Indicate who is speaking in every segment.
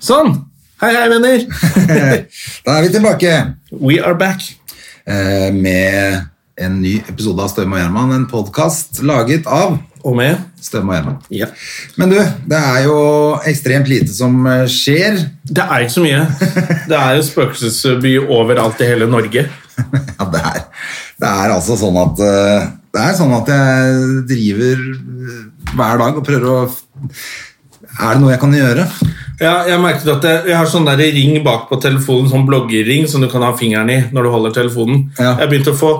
Speaker 1: Sånn! Hei, hei, venner!
Speaker 2: Da er vi tilbake
Speaker 1: We are back.
Speaker 2: eh, med en ny episode av Støm og Gjerman, en podkast laget av
Speaker 1: Og med
Speaker 2: Støm og Gjerman.
Speaker 1: Ja.
Speaker 2: Men du, det er jo ekstremt lite som eh, skjer.
Speaker 1: Det er ikke så mye. Det er jo spøkelsesby overalt i hele Norge.
Speaker 2: Ja, det er, det er altså sånn at eh, Det er sånn at jeg driver eh, hver dag og prøver å Er det noe jeg kan gjøre?
Speaker 1: Ja, jeg merket at jeg, jeg har sånn der ring bak på telefonen, sånn bloggerring som du kan ha fingeren i når du holder telefonen.
Speaker 2: Ja.
Speaker 1: Jeg begynte å få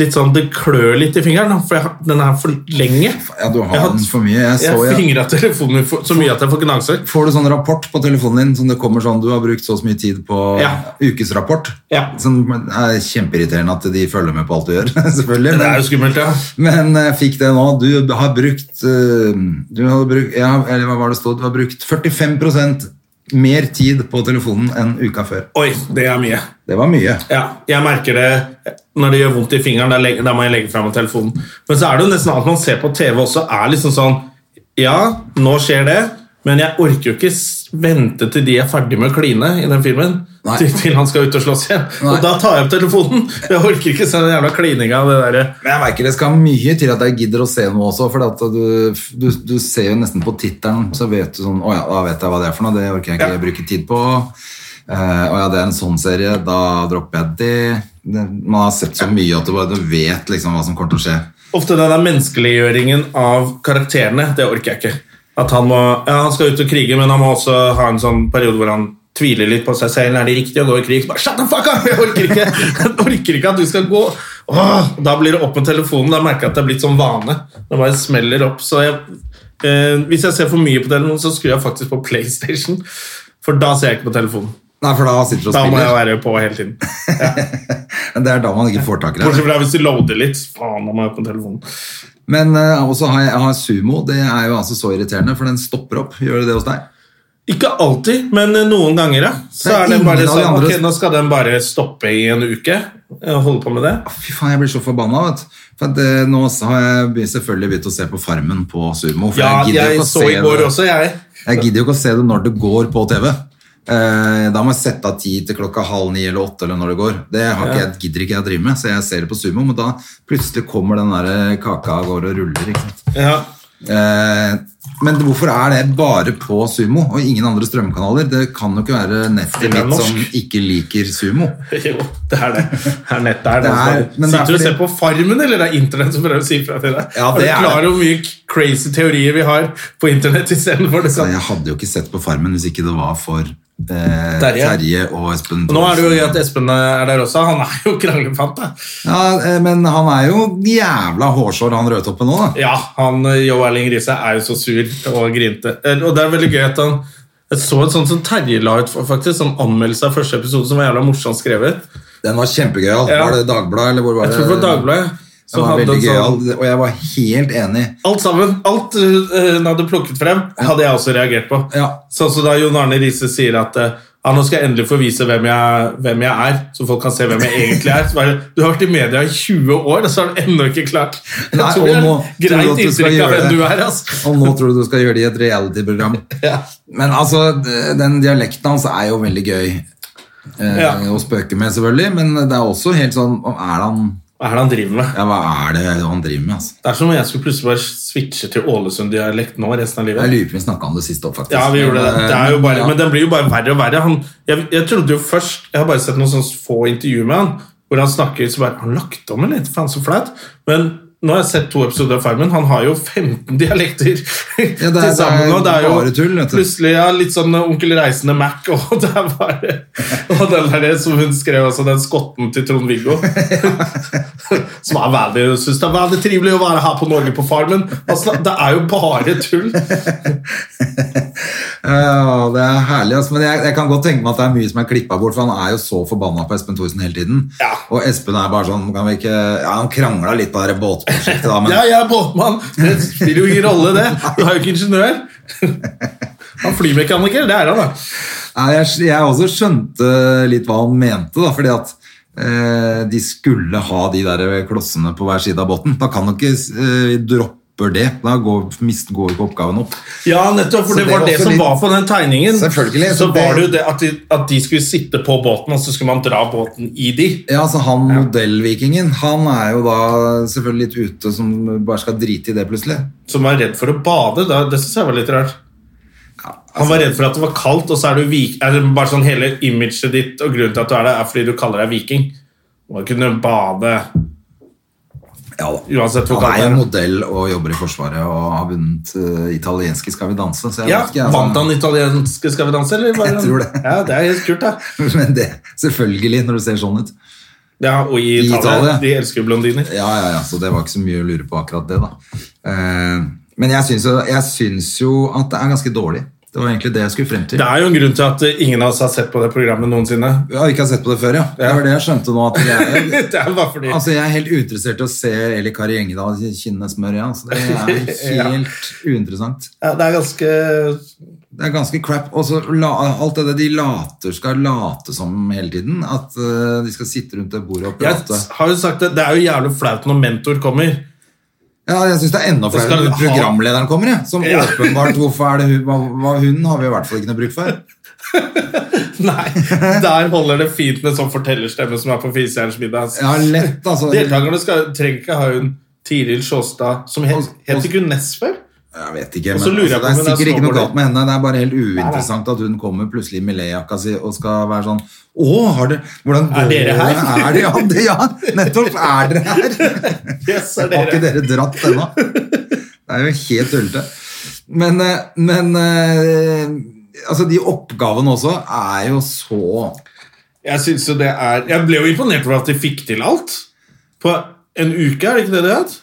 Speaker 1: litt sånn, Det klør litt i fingeren, da, for jeg, har- den er for lenge.
Speaker 2: Ja, du har
Speaker 1: Jeg har-
Speaker 2: den for mye. Jeg så,
Speaker 1: jeg
Speaker 2: jeg,
Speaker 1: fingrer telefonen min for, så mye at jeg får gnagsår.
Speaker 2: får du sånn rapport på telefonen din som det kommer sånn Du har brukt så og så mye tid på
Speaker 1: Ja.
Speaker 2: ukesrapport.
Speaker 1: Ja.
Speaker 2: Som er kjempeirriterende at de følger med på alt du gjør, selvfølgelig.
Speaker 1: Det
Speaker 2: men-
Speaker 1: er jo skummelt, ja.
Speaker 2: Men jeg fikk det nå. Du har brukt eh, Du har brukt, ja, eller hva var det stod? Du har brukt 45 mer tid på telefonen enn uka før.
Speaker 1: Oi, det er mye.
Speaker 2: Det var mye.
Speaker 1: Ja, jeg merker det når det gjør vondt i fingeren. Da, legger, da må jeg legge frem telefonen. Men så er det jo nesten alt man ser på TV også, er liksom sånn Ja, nå skjer det, men jeg orker jo ikke s- vente til de er ferdig med å kline i den filmen.
Speaker 2: Nei.
Speaker 1: Til, til han skal ut og slåss igjen.
Speaker 2: Nei.
Speaker 1: Og da tar jeg opp telefonen. Jeg orker ikke se den jævla klininga. Det der.
Speaker 2: Men jeg merker det skal mye til at jeg gidder å se noe også, for at du, du, du ser jo nesten på tittelen, så vet du sånn Å ja, da vet jeg hva det er for noe. Det orker jeg ikke bruke tid på. Eh, Å ja, det er en sånn serie. Da dropper jeg det. det. Man har sett så mye at du bare du vet liksom hva som kommer til å skje.
Speaker 1: Ofte den der menneskeliggjøringen av karakterene, det orker jeg ikke. At han må, ja, han skal ut og krige, men han må også ha en sånn periode hvor han tviler litt på seg selv. Er det riktig å gå i krig? Så Bare, Shut the fuck up! Jeg orker ikke, jeg orker ikke at du skal gå. Åh, da blir det opp med telefonen. Da merker jeg at det er blitt sånn vane. Det bare smeller opp. Så jeg, eh, hvis jeg ser for mye på telefonen, så skrur jeg faktisk på PlayStation. For da ser jeg ikke på telefonen.
Speaker 2: Nei, for da sitter du og
Speaker 1: Da må jeg
Speaker 2: spiller.
Speaker 1: være på hele tiden.
Speaker 2: Det er da man ikke får tak i det.
Speaker 1: Bortsett fra hvis du loader litt. Faen, da må jeg på telefonen.
Speaker 2: Men eh, også har jeg, jeg har sumo. Det er jo altså så irriterende, for den stopper opp. Gjør det det hos deg?
Speaker 1: Ikke alltid, men eh, noen ganger. Ja. Så
Speaker 2: Det er
Speaker 1: er det
Speaker 2: ingen
Speaker 1: bare
Speaker 2: av de
Speaker 1: sånn,
Speaker 2: andre-
Speaker 1: ok, Nå skal den bare stoppe i en uke. eh, Holde på med det.
Speaker 2: Ah, Fy faen, jeg blir så forbanna, vet du. For at, eh, nå har jeg be- selvfølgelig begynt å se på Farmen på sumo. For
Speaker 1: Ja,
Speaker 2: jeg, gidder jo
Speaker 1: jeg
Speaker 2: ikke å
Speaker 1: så
Speaker 2: se
Speaker 1: i går
Speaker 2: det.
Speaker 1: også, jeg.
Speaker 2: jeg gidder jo ikke å se det når det går på TV. Eh, da må jeg sette av tid til klokka halv ni eller åtte eller når det går. Det har ikke, jeg, gidder ikke jeg å drive med, så jeg ser det på sumo. Men da plutselig kommer den der eh, kaka av gårde og ruller. Ikke sant?
Speaker 1: Ja.
Speaker 2: Eh, men hvorfor er det bare på sumo og ingen andre strømkanaler? Det kan jo ikke være nettet
Speaker 1: Det er
Speaker 2: mitt
Speaker 1: norsk.
Speaker 2: som ikke liker sumo.
Speaker 1: Jo, det er det. Det er nettet her.
Speaker 2: Det er-
Speaker 1: altså.
Speaker 2: men det er
Speaker 1: Sitter du og
Speaker 2: fordi-
Speaker 1: ser på Farmen, eller det er Internett som prøver å si fra til deg?
Speaker 2: Ja, det
Speaker 1: er
Speaker 2: er
Speaker 1: du klar
Speaker 2: det.
Speaker 1: over hvor mye crazy teorier vi har på Internett istedenfor det?
Speaker 2: Så
Speaker 1: Kan...
Speaker 2: jeg hadde jo ikke sett på Farmen hvis ikke det var for eh,
Speaker 1: Terje.
Speaker 2: Terje. og Espen.
Speaker 1: Nå er det jo gøy at Espen eh, er der også. Han er jo kranglefant. da.
Speaker 2: ja, eh, Men han er jo jævla hårsår, han rødtoppen nå, da.
Speaker 1: Ja, han, eh, Jo Erling Riise er jo så sur og grinte. Eh, Og det er veldig gøy at han jeg så et sånt som Terje la ut, faktisk, sånn anmeldelse av første episode som var jævla morsomt skrevet.
Speaker 2: Den var kjempegøyal.
Speaker 1: Ja.
Speaker 2: Var det Dagbladet, eller hvor var
Speaker 1: Jeg
Speaker 2: det?
Speaker 1: tror det var Dagbladet.
Speaker 2: Den
Speaker 1: Som
Speaker 2: Eh, var
Speaker 1: hadde
Speaker 2: veldig
Speaker 1: en
Speaker 2: gøyal,
Speaker 1: sånn,
Speaker 2: og jeg var helt enig.
Speaker 1: alt sammen, alt eh, hun hadde plukket frem, hadde jeg også reagert på.
Speaker 2: Ja.
Speaker 1: Sånn som da Jon Arne Riise sier at eh, ja, nå skal jeg endelig få vise hvem jeg, hvem jeg er, så folk kan se hvem jeg egentlig er. Så bare, du har vært i media i 20 år, og så har du ennå ikke klart. Jeg
Speaker 2: Nei,
Speaker 1: tror
Speaker 2: og
Speaker 1: det er
Speaker 2: nå
Speaker 1: et
Speaker 2: tror du at
Speaker 1: greit
Speaker 2: du skal
Speaker 1: inntrykk av
Speaker 2: gjøre
Speaker 1: hvem
Speaker 2: det.
Speaker 1: du er. Altså.
Speaker 2: Og nå tror du du skal gjøre det i et reality-program. Men altså, den dialekten hans er jo veldig gøy eh,
Speaker 1: Ja.
Speaker 2: å spøke med, selvfølgelig. Men det er også helt sånn Er han
Speaker 1: Hva er det han driver med?
Speaker 2: Ja, hva er det han driver med, altså?
Speaker 1: Det er som om jeg skulle plutselig bare switche til Ålesund-dialekt nå resten av
Speaker 2: Jeg
Speaker 1: livet.
Speaker 2: lurer på om vi snakka om det siste òg, faktisk. eh,
Speaker 1: Ja, vi gjorde det. det er jo bare,
Speaker 2: Ja.
Speaker 1: men den blir jo bare verre og verre. Han, jeg, jeg trodde jo først Jeg har bare sett noen sånne få intervjuer med han hvor han snakker så bare Har han lagt om, eller? Faen, så flaut. Men Nå har jeg sett to episoder av Farmen. Han har jo 15 dialekter
Speaker 2: er-
Speaker 1: til sammen. Og det er jo
Speaker 2: bare tull, vet du.
Speaker 1: plutselig ja, litt sånn Onkel Reisende Mac. Og, det er bare, og den der som hun skrev også, den skotten til Trond-Viggo. som er veldig, synes det er veldig trivelig å være her på Norge på Farmen. Altså, det er jo bare tull.
Speaker 2: Ja, det er herlig, altså. men jeg, jeg kan godt tenke meg at det er mye som er klippa bort, for han er jo så forbanna på Espen Thorsen hele tiden.
Speaker 1: Ja.
Speaker 2: Og Espen er bare sånn kan vi ikke, ja, Han krangla litt på det der båtprosjektet, da, men
Speaker 1: Ja, jeg er båtmann. Det spiller jo ingen rolle, det. Du er jo ikke ingeniør. Han er flymekaniker, det er han, da.
Speaker 2: Nei, jeg, jeg også skjønte litt hva han mente, da, fordi at eh, de skulle ha de der klossene på hver side av båten. Da kan du ikke eh, droppe det. Da går, mist, går ikke oppgaven opp.
Speaker 1: Ja, nettopp, for
Speaker 2: Så
Speaker 1: det,
Speaker 2: det
Speaker 1: var
Speaker 2: var
Speaker 1: det
Speaker 2: også
Speaker 1: som
Speaker 2: litt-
Speaker 1: var på den tegningen.
Speaker 2: Selvfølgelig,
Speaker 1: Så
Speaker 2: så
Speaker 1: var
Speaker 2: det-
Speaker 1: det jo det at de, at de skulle sitte på båten, og så skulle man dra båten i de.
Speaker 2: Ja, altså Han modellvikingen han er jo da selvfølgelig litt ute som bare skal drite i det plutselig.
Speaker 1: Som var redd for å bade. Da, det synes jeg var litt rart. Han
Speaker 2: altså-
Speaker 1: var redd for at det var kaldt, og så er du vik... Er det bare sånn hele imaget ditt og grunnen til at du er der, er fordi du kaller deg viking. Man kunne bade
Speaker 2: Ja da.
Speaker 1: uansett hvor
Speaker 2: Han
Speaker 1: kaldt
Speaker 2: er jo
Speaker 1: det er.
Speaker 2: modell og jobber i Forsvaret og har vunnet eh, italienske Skal vi danse. Så jeg
Speaker 1: Ja,
Speaker 2: vet ikke, altså. jeg,
Speaker 1: Vant han italienske Skal vi danse, eller? var
Speaker 2: Jeg tror det.
Speaker 1: Ja, det er helt kult, da.
Speaker 2: Men det, selvfølgelig, når du ser sånn ut.
Speaker 1: Ja, og i
Speaker 2: I
Speaker 1: Italia,
Speaker 2: Italia.
Speaker 1: De elsker jo blondiner.
Speaker 2: Ja, ja, ja, så det var ikke så mye å lure på akkurat det, da. Eh, men jeg syns, jo, jeg syns jo at det er ganske dårlig. Det var egentlig det jeg skulle frem til.
Speaker 1: Det er jo en grunn til at eh, ingen av oss har sett på det programmet noensinne.
Speaker 2: Jeg har ikke sett på det før, ja. Det var det jeg skjønte nå. at jeg...
Speaker 1: Det er bare fordi
Speaker 2: Altså, Jeg er helt uinteressert i å se Eli Kari Gjengedal kinne smør igjen. Altså, det er helt uinteressant.
Speaker 1: ja, Det er ganske
Speaker 2: Det er ganske crap. Og så la, alt det der de later skal late som hele tiden. At eh, de skal sitte rundt det bordet og prate.
Speaker 1: Jeg har jo sagt det, det er jo jævlig flaut når mentor kommer.
Speaker 2: Ja, jeg syns det er enda
Speaker 1: skal
Speaker 2: flere
Speaker 1: du
Speaker 2: når
Speaker 1: ha-
Speaker 2: programlederen kommer, jeg. Som
Speaker 1: Ja.
Speaker 2: åpenbart Hvorfor er det hun hva, hva Hun har vi i hvert fall ikke noe bruk for.
Speaker 1: Nei, Der holder det fint med sånn fortellerstemme som er på Fisejerns middag. ass.
Speaker 2: Ja, lett, altså.
Speaker 1: Deltakerne skal, trenger ikke ha hun Tiril Sjåstad som het,
Speaker 2: Og-
Speaker 1: het ikke hun Ness før?
Speaker 2: Jeg vet ikke,
Speaker 1: Og
Speaker 2: men
Speaker 1: så lurer jeg
Speaker 2: altså,
Speaker 1: på
Speaker 2: det er
Speaker 1: om hun er
Speaker 2: sikkert ikke noe
Speaker 1: snowboarder.
Speaker 2: galt med henne. Det er bare helt uinteressant at hun kommer plutselig i Millet-jakka si og skal være sånn Å, har dere Hvordan
Speaker 1: Er
Speaker 2: går
Speaker 1: dere her?»
Speaker 2: det? Er dere, ja, det, ja, nettopp! Er dere her?
Speaker 1: Yes, er
Speaker 2: Har ikke
Speaker 1: dere.
Speaker 2: dere dratt ennå? Det er jo helt tullete. Men, eh, men eh, altså, de oppgavene også er jo så
Speaker 1: Jeg synes jo det er Jeg ble jo imponert over at de fikk til alt på en uke, er det ikke det det het?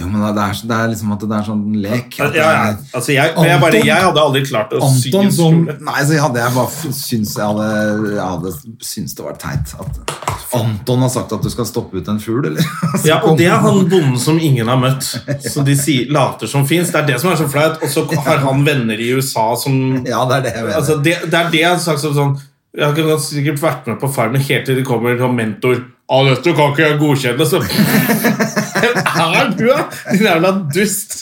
Speaker 2: jo, men det er, det er liksom at det er sånn lek.
Speaker 1: Ja,
Speaker 2: At det
Speaker 1: ja.
Speaker 2: er,
Speaker 1: Altså, jeg, men jeg, bare,
Speaker 2: Anton-
Speaker 1: jeg hadde aldri klart å sy
Speaker 2: Anton
Speaker 1: en
Speaker 2: som
Speaker 1: skjorte.
Speaker 2: Nei, så hadde jeg bare f- syns jeg hadde, jeg hadde syns det var teit at Anton har sagt at du skal stoppe ut en fugl, eller? Så
Speaker 1: Ja, og
Speaker 2: kom-
Speaker 1: det er han bonden som ingen har møtt. Så de sier, later som fins. Det er det som er så flaut. Og så har han venner i USA som
Speaker 2: Ja, det er det jeg mener.
Speaker 1: altså, det, det er det jeg har sagt som sånn Jeg kunne sikkert vært med på Farmen helt til det kommer en mentor. Ja, dette kan ikke jeg godkjenne, så Hvem er du, da? Din jævla dust.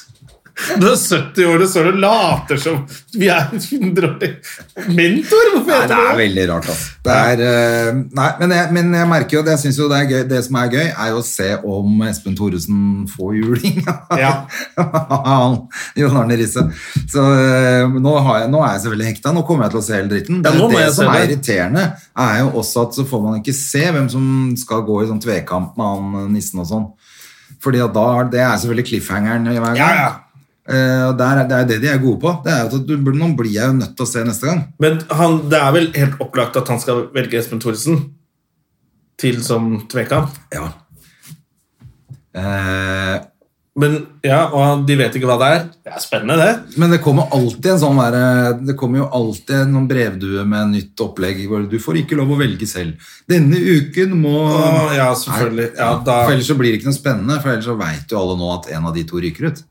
Speaker 1: Du er 70 år og står og later som vi er 100 år Mentor? Hvorfor
Speaker 2: Nei, det
Speaker 1: heter
Speaker 2: er
Speaker 1: det det?
Speaker 2: veldig rart, altså. Det er, eh, nei, men, jeg, men jeg merker jo, det, jeg synes jo det, er gøy, det som er gøy, er jo å se om Espen Thoresen får juling.
Speaker 1: Ja.
Speaker 2: Han- Jon Arne Risse. Så eh, nå, har jeg, nå er jeg selvfølgelig hekta, nå kommer jeg til å se hele dritten.
Speaker 1: Ja,
Speaker 2: Det,
Speaker 1: nå må
Speaker 2: det
Speaker 1: jeg se
Speaker 2: som er
Speaker 1: det.
Speaker 2: irriterende, er jo også at så får man ikke se hvem som skal gå i sånn tvekamp med han eh, nissen og sånn. Fordi at da, det er selvfølgelig cliffhangeren i hver gang.
Speaker 1: Ja, ja.
Speaker 2: Eh, og der, er- det er det de er gode på. Det er jo at du, Nå blir jeg jo nødt til å se neste gang.
Speaker 1: Men han, det er vel helt opplagt at han skal velge Espen Thoresen til som tvekamp?
Speaker 2: Ja. Eh,
Speaker 1: Men ja, og de vet ikke hva det er. Det er spennende, det.
Speaker 2: men det kommer alltid en sånn der, Det kommer jo alltid en sånn brevdue med nytt opplegg. hvor Du får ikke lov å velge selv. Denne uken må
Speaker 1: Å, ja, selvfølgelig. Ja,
Speaker 2: Nei,
Speaker 1: da-
Speaker 2: For ellers så blir det ikke noe spennende, for ellers så veit jo alle nå at en av de to ryker ut.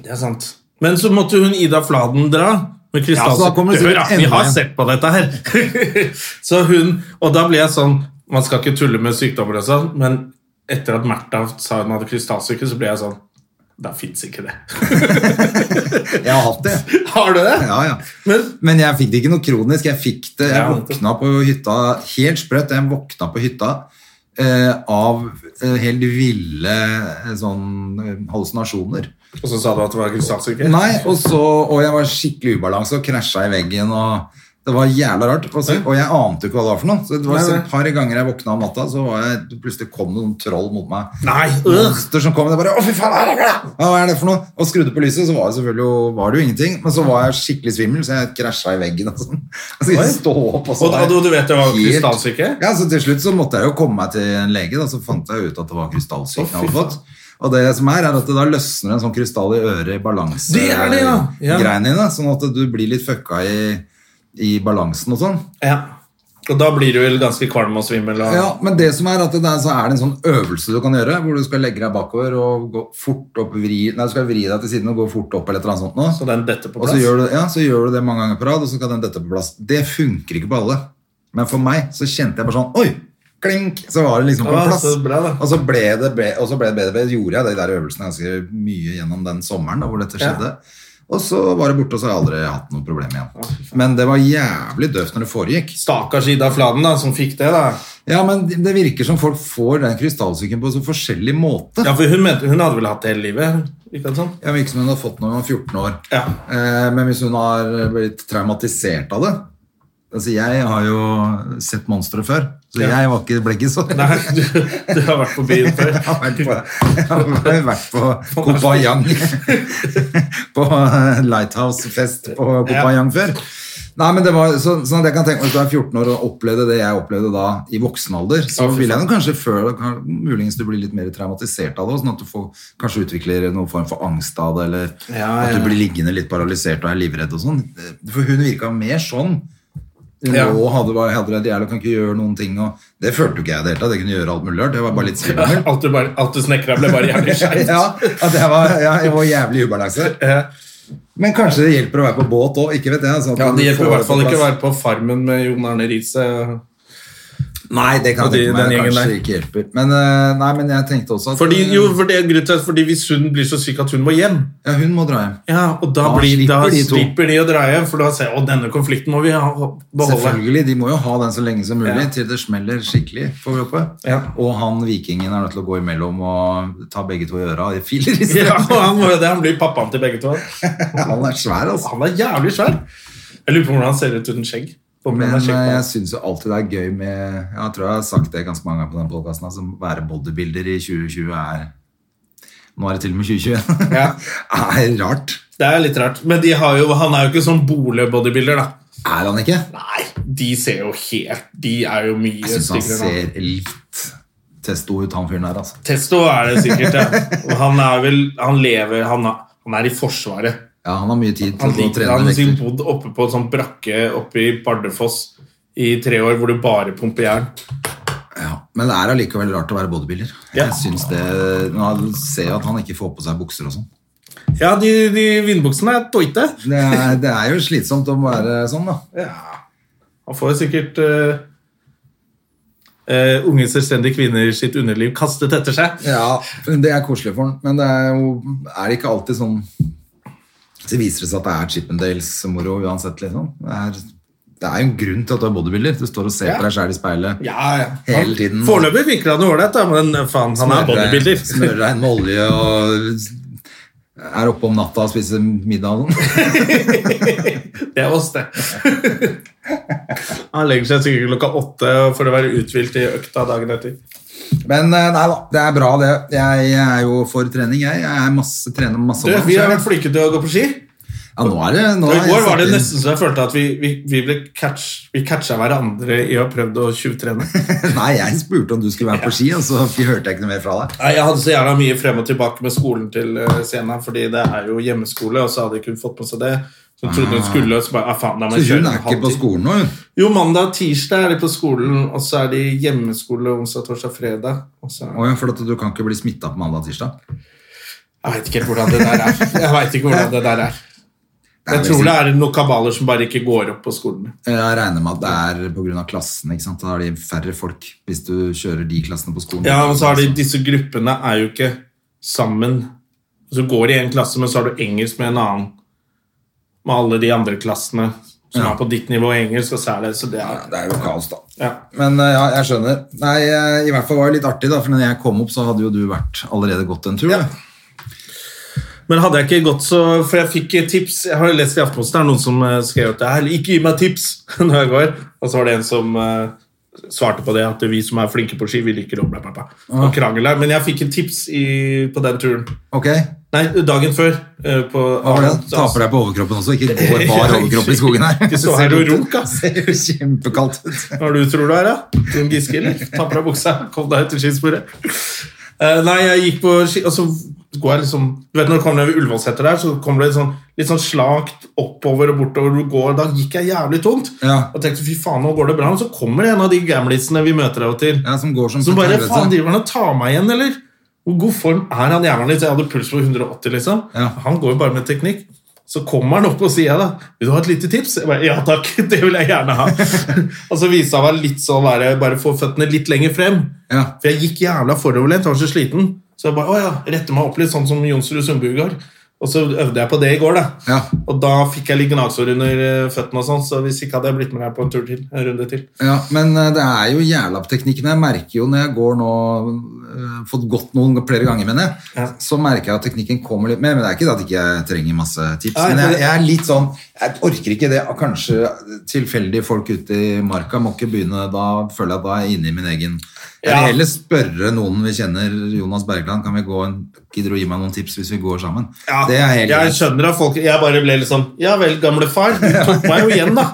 Speaker 1: Det er sant. Men så måtte hun Ida Fladen dra. Med krystall-
Speaker 2: Ja, så da kommer det
Speaker 1: Hør,
Speaker 2: sikkert
Speaker 1: da, Vi
Speaker 2: enda
Speaker 1: har
Speaker 2: en.
Speaker 1: sett på dette her! så hun, Og da ble jeg sånn Man skal ikke tulle med sykdommer og sånn, men etter at Märtha sa hun hadde krystallsyke, så ble jeg sånn Da fins ikke det.
Speaker 2: Jeg har hatt det.
Speaker 1: Har du det?
Speaker 2: Ja, ja.
Speaker 1: Men-
Speaker 2: Men jeg fikk det ikke noe kronisk. Jeg fikk det, jeg
Speaker 1: Ja, nettopp.
Speaker 2: våkna på hytta Helt sprøtt. Jeg våkna på hytta eh, av eh, helt ville eh, sånn eh, hallusinasjoner.
Speaker 1: Og så sa du at det var krystallsyke?
Speaker 2: Nei, og, så, og jeg var skikkelig i ubalanse og krasja i veggen. Og, Det var jævla rart, og, så, og jeg ante jo ikke hva det var for noe. Så det var
Speaker 1: Nei, nei.
Speaker 2: så Et par ganger jeg våkna om natta, så var jeg, plutselig kom det noen troll mot meg.
Speaker 1: Nei, øh.
Speaker 2: Monster som kom, og jeg bare, å fy faen, hva er det? Ja, hva er det for noe? Og skrudde på lyset, så var det selvfølgelig jo, var det jo ingenting. Men så var jeg skikkelig svimmel, så jeg krasja i veggen og sånn. Og så
Speaker 1: Oi.
Speaker 2: stå opp og så
Speaker 1: Og da,
Speaker 2: var jeg
Speaker 1: du, du vet det var
Speaker 2: helt-
Speaker 1: krystallsyke?
Speaker 2: Ja, så til slutt så måtte jeg jo komme meg til en lege, da, så fant jeg ut at det var krystallsyken
Speaker 1: Å, fy
Speaker 2: jeg hadde fått. Og det som er, er at det da løsner en sånn krystall i øret i
Speaker 1: Det er det, ja. Ja.
Speaker 2: balansegreiene dine, sånn at du blir litt fucka i, i balansen og sånn.
Speaker 1: Ja. Og da blir du vel ganske kvalm og svimmel? Og...
Speaker 2: Ja, men det som er at det er, så er det en sånn øvelse du kan gjøre, hvor du skal legge deg bakover og gå fort opp, vri, nei, du skal vri deg til siden og gå fort opp eller et eller annet sånt nå.
Speaker 1: Så den detter på
Speaker 2: og
Speaker 1: plass?
Speaker 2: så gjør, du, ja, så gjør du det mange ganger på rad, og så skal den dette på plass. Det funker ikke på alle. Men for meg så kjente jeg bare sånn, oi, klink, så var det liksom på
Speaker 1: Ja,
Speaker 2: plass.
Speaker 1: så bra da.
Speaker 2: og så ble det, be- og så ble det bedre, bedre. Gjorde jeg de der øvelsene ganske mye gjennom den sommeren da, hvor dette
Speaker 1: Ja.
Speaker 2: skjedde. Og så var det borte, og så har jeg aldri hatt noe problem igjen. Men det var jævlig døvt når det foregikk.
Speaker 1: Stakkars Ida Fladen, da, som fikk det. da
Speaker 2: Ja, men det virker som folk får den krystallsyken på så forskjellig måte.
Speaker 1: Ja, for Hun, mente, hun hadde vel hatt det hele livet? Ikke sant? sånn?
Speaker 2: Jeg virker som hun har fått når hun var 14 år.
Speaker 1: Ja.
Speaker 2: Eh, men hvis hun har blitt traumatisert av det Altså, jeg har jo sett monstre før, så
Speaker 1: Ja.
Speaker 2: jeg var ikke, ble ikke sånn. så
Speaker 1: Nei, du, du har vært på byen før.
Speaker 2: Jeg har vært på, jeg har vært på Kopayang. På eh, Lighthouse-fest på Kopayang før. Nei, men det var så, sånn at jeg kan tenke meg Hvis du er 14 år og opplevde det jeg opplevde da i voksen alder, så
Speaker 1: Ja, fy
Speaker 2: vil jeg nok kanskje føle kan- muligens du blir litt mer traumatisert av det, og sånn at du får, kanskje utvikler noen form for angst av det, eller
Speaker 1: Ja,
Speaker 2: at
Speaker 1: ja.
Speaker 2: du blir liggende litt paralysert og er livredd og sånn. For hun virka mer sånn. Hun
Speaker 1: Ja.
Speaker 2: lå og hadde, var- hadde redd jævla, kan ikke gjøre noen ting. Og det følte jo ikke jeg i det hele tatt. Jeg kunne gjøre alt mulig rart. Jeg var bare litt svimmel.
Speaker 1: Alt du, bare- alt du snekra, ble bare jævlig skeivt.
Speaker 2: Ja, at jeg var, ja, jeg var jævlig i ubalanse.
Speaker 1: Eh,
Speaker 2: Men kanskje det hjelper å være på båt òg, ikke vet jeg. altså, at
Speaker 1: Ja,
Speaker 2: du
Speaker 1: det hjelper
Speaker 2: får
Speaker 1: i hvert fall
Speaker 2: på
Speaker 1: ikke å
Speaker 2: plass.
Speaker 1: være på Farmen med Jon Arne Riise.
Speaker 2: Nei, det kan
Speaker 1: Og de-
Speaker 2: jeg tenke
Speaker 1: den
Speaker 2: meg
Speaker 1: gjengen
Speaker 2: kanskje
Speaker 1: der.
Speaker 2: ikke hjelper. Men, eh, nei, men jeg tenkte også at eh,
Speaker 1: Fordi, jo, for det er grunnen til at fordi Hvis hun blir så syk at hun må hjem,
Speaker 2: ja, hun må dra hjem.
Speaker 1: Ja, og da,
Speaker 2: Da
Speaker 1: blir, da
Speaker 2: slipper de to.
Speaker 1: slipper de å dra hjem, for da ser jeg at denne konflikten må vi ha, beholde.
Speaker 2: Selvfølgelig, De må jo ha den så lenge som mulig
Speaker 1: Ja.
Speaker 2: til det smeller skikkelig. får vi håpe.
Speaker 1: Ja.
Speaker 2: Og han vikingen er nødt til å gå imellom og ta begge to i øra i filer. i stedet.
Speaker 1: Ja, og han, må jo det, han blir pappaen til begge to.
Speaker 2: Han er svær, altså.
Speaker 1: Han er jævlig svær. Jeg lurer på hvordan han ser ut uten skjegg. På
Speaker 2: Men
Speaker 1: men,
Speaker 2: eh,
Speaker 1: skjegg
Speaker 2: jeg
Speaker 1: på.
Speaker 2: syns jo alltid det er gøy med Jeg tror jeg har sagt det ganske mange ganger på denne podkasten, altså være bodybuilder i 2020 er Nå er det til og med 2021.
Speaker 1: Ja.
Speaker 2: er rart.
Speaker 1: Det er litt rart. Men de har jo, han er jo ikke sånn boligbodybuilder, da.
Speaker 2: Er han ikke?
Speaker 1: Nei, de ser jo helt De er jo mye
Speaker 2: Jeg syns han
Speaker 1: styggere enn han.
Speaker 2: ser litt testo ut, han fyren der, altså.
Speaker 1: Testo er det sikkert, ja. Og han er vel Han lever Han er, han er i Forsvaret.
Speaker 2: Ja, han har mye tid
Speaker 1: Han
Speaker 2: til å
Speaker 1: liker det. Han
Speaker 2: trene
Speaker 1: har sikkert
Speaker 2: vekter.
Speaker 1: bodd oppe på en sånn brakke oppe i Bardufoss i tre år, hvor du bare pumper jern.
Speaker 2: Ja. Men det er allikevel rart å være bodybuilder.
Speaker 1: Ja.
Speaker 2: Jeg syns det Nå ser jeg at han ikke får på seg bukser og sånn.
Speaker 1: Ja, de, de vindbuksene er toite.
Speaker 2: Det, er- det er jo slitsomt å være sånn, da.
Speaker 1: Ja. Han får jo sikkert eh, eh, unge selvstendige kvinner sitt underliv kastet etter seg.
Speaker 2: Ja, det er koselig for den, men det er jo er det ikke alltid sånn Så viser det seg at det er Chippendales-moro uansett, liksom. Det er, det er jo en grunn til at du er bodybuilder. Du står og ser
Speaker 1: Ja.
Speaker 2: på deg sjæl i speilet.
Speaker 1: Ja, ja.
Speaker 2: Hele tiden.
Speaker 1: Foreløpig virker han jo ålreit, da, men faen, han er bodybuilder.
Speaker 2: Smører deg inn med olje og er oppe om natta og spiser middag og sånn.
Speaker 1: Det er oss, det. han legger seg sikkert klokka åtte for å være uthvilt i økta dagen etter.
Speaker 2: Men eh, nei da, det er bra, det. Jeg er jo for trening, jeg. Jeg er masse, trener masse.
Speaker 1: Du, vi har vært flinke til å gå på ski.
Speaker 2: Ja, nå er det nå
Speaker 1: Og I
Speaker 2: har jeg
Speaker 1: går var
Speaker 2: satt
Speaker 1: det
Speaker 2: inn-
Speaker 1: nesten så jeg følte at vi, vi, vi, ble catch, vi catcha hverandre i å ha prøvd å tjuvtrene.
Speaker 2: Nei, jeg spurte om du skulle være på ski, og så hørte jeg ikke noe mer fra deg.
Speaker 1: Nei, Jeg hadde så gjerne mye frem og tilbake med skolen til eh, Sena, fordi det er jo hjemmeskole, og så hadde ikke hun fått på seg det. Så hun trodde hun skulle, og så bare, ah, faen, da må
Speaker 2: Så
Speaker 1: jeg kjøre en
Speaker 2: hun er ikke
Speaker 1: halv
Speaker 2: på
Speaker 1: time.
Speaker 2: skolen nå, hun.
Speaker 1: Jo, mandag og tirsdag er de på skolen, og så er de hjemmeskole onsdag, torsdag, fredag. Og så...
Speaker 2: Å ja, for at du kan ikke bli smitta på mandag og tirsdag?
Speaker 1: Jeg veit ikke helt hvordan det der er. Jeg vet ikke hvordan det der er. Jeg
Speaker 2: det
Speaker 1: tror
Speaker 2: er liksom-
Speaker 1: det er noen kabaler som bare ikke går opp på skolen.
Speaker 2: Eh, Jeg regner med at det er pga. klassen. ikke sant? Da har de færre folk hvis du kjører de klassene på skolen.
Speaker 1: Ja, og så har de, disse gruppene er jo ikke sammen. Så går de i en klasse, men så har du engelsk med en annen. Med alle de andre klassene som
Speaker 2: Ja.
Speaker 1: er på ditt nivå i engelsk, og så er det så det er,
Speaker 2: Det er jo kaos, da.
Speaker 1: ja.
Speaker 2: Men eh, ja, jeg skjønner. Nei, eh, i hvert fall var det litt artig, da, for når jeg kom opp, så hadde jo du vært allerede gått en tur. da.
Speaker 1: Men hadde jeg ikke gått så For jeg fikk eh, tips Jeg har jo lest i Aftenposten det er noen som eh, skrev at «Nei, Ikke gi meg tips når jeg går. Og så var det en som eh, svarte på det at vi som er flinke på ski, vi liker å bla, bla, bla. Og krangel der. Men jeg fikk et tips i, på den turen.
Speaker 2: Ok,
Speaker 1: Nei, dagen før. eh, På,
Speaker 2: hva var det? Taper deg på overkroppen også, ikke går bar overkropp i skogen her.
Speaker 1: Ikke stå her og runk, ass.
Speaker 2: Det ser jo kjempekaldt ut.
Speaker 1: Hva er det du tror du er, da? Trond Giske, eller? Ta på deg buksa, kom deg ut til skisporet. Eh, nei, jeg gikk på ski, og så går jeg liksom Du vet når du kommer ned ved Ullevålseter der, så kommer det et sånn, litt sånn slakt oppover og bortover. Du går, da gikk jeg jævlig tungt.
Speaker 2: Ja.
Speaker 1: Og tenkte fy faen, nå går det bra. Men så kommer det en av de gamlisene vi møter av og til.
Speaker 2: Ja, som går som
Speaker 1: Som bare
Speaker 2: helvete.
Speaker 1: Faen, driver han og tar meg igjen, eller? Hvor god form er han jævla litt? Jeg hadde puls på 180, liksom.
Speaker 2: Ja.
Speaker 1: Han går jo bare med teknikk. Så kommer han opp og sier da Vil du ha et lite tips? Jeg bare, ja takk, det vil jeg gjerne ha. og så viste han meg litt sånn være Bare få føttene litt lenger frem.
Speaker 2: Ja.
Speaker 1: For jeg gikk jævla foroverlent, jeg var så sliten. Så jeg bare å ja, rette meg opp litt, sånn som Jonsrud Sundbugard. Og så øvde jeg på det i går, da.
Speaker 2: Ja.
Speaker 1: Og da fikk jeg litt gnagsår under eh, føttene og sånn, så hvis ikke hadde jeg blitt med deg på en tur til. En runde til.
Speaker 2: Ja, men eh, det er jo jævla på teknikken. Jeg merker jo når jeg går nå eh, Fått gått noen flere ganger, mener jeg.
Speaker 1: Ja.
Speaker 2: Så merker jeg at teknikken kommer litt mer. Men det er ikke det at ikke jeg trenger masse tips.
Speaker 1: Nei,
Speaker 2: men
Speaker 1: for
Speaker 2: jeg,
Speaker 1: det-
Speaker 2: jeg er litt sånn Jeg orker ikke det. Kanskje tilfeldige folk ute i marka må ikke begynne. Da føler jeg at da er jeg inne i min egen Jeg
Speaker 1: Ja.
Speaker 2: vil heller spørre noen vi kjenner, Jonas Bergland, kan vi gå en Gidder du å gi meg noen tips hvis vi går sammen?
Speaker 1: Ja,
Speaker 2: Det er helt
Speaker 1: jeg
Speaker 2: greit.
Speaker 1: skjønner at folk Jeg bare ble litt sånn Ja vel, gamle far. Du tok meg jo igjen, da.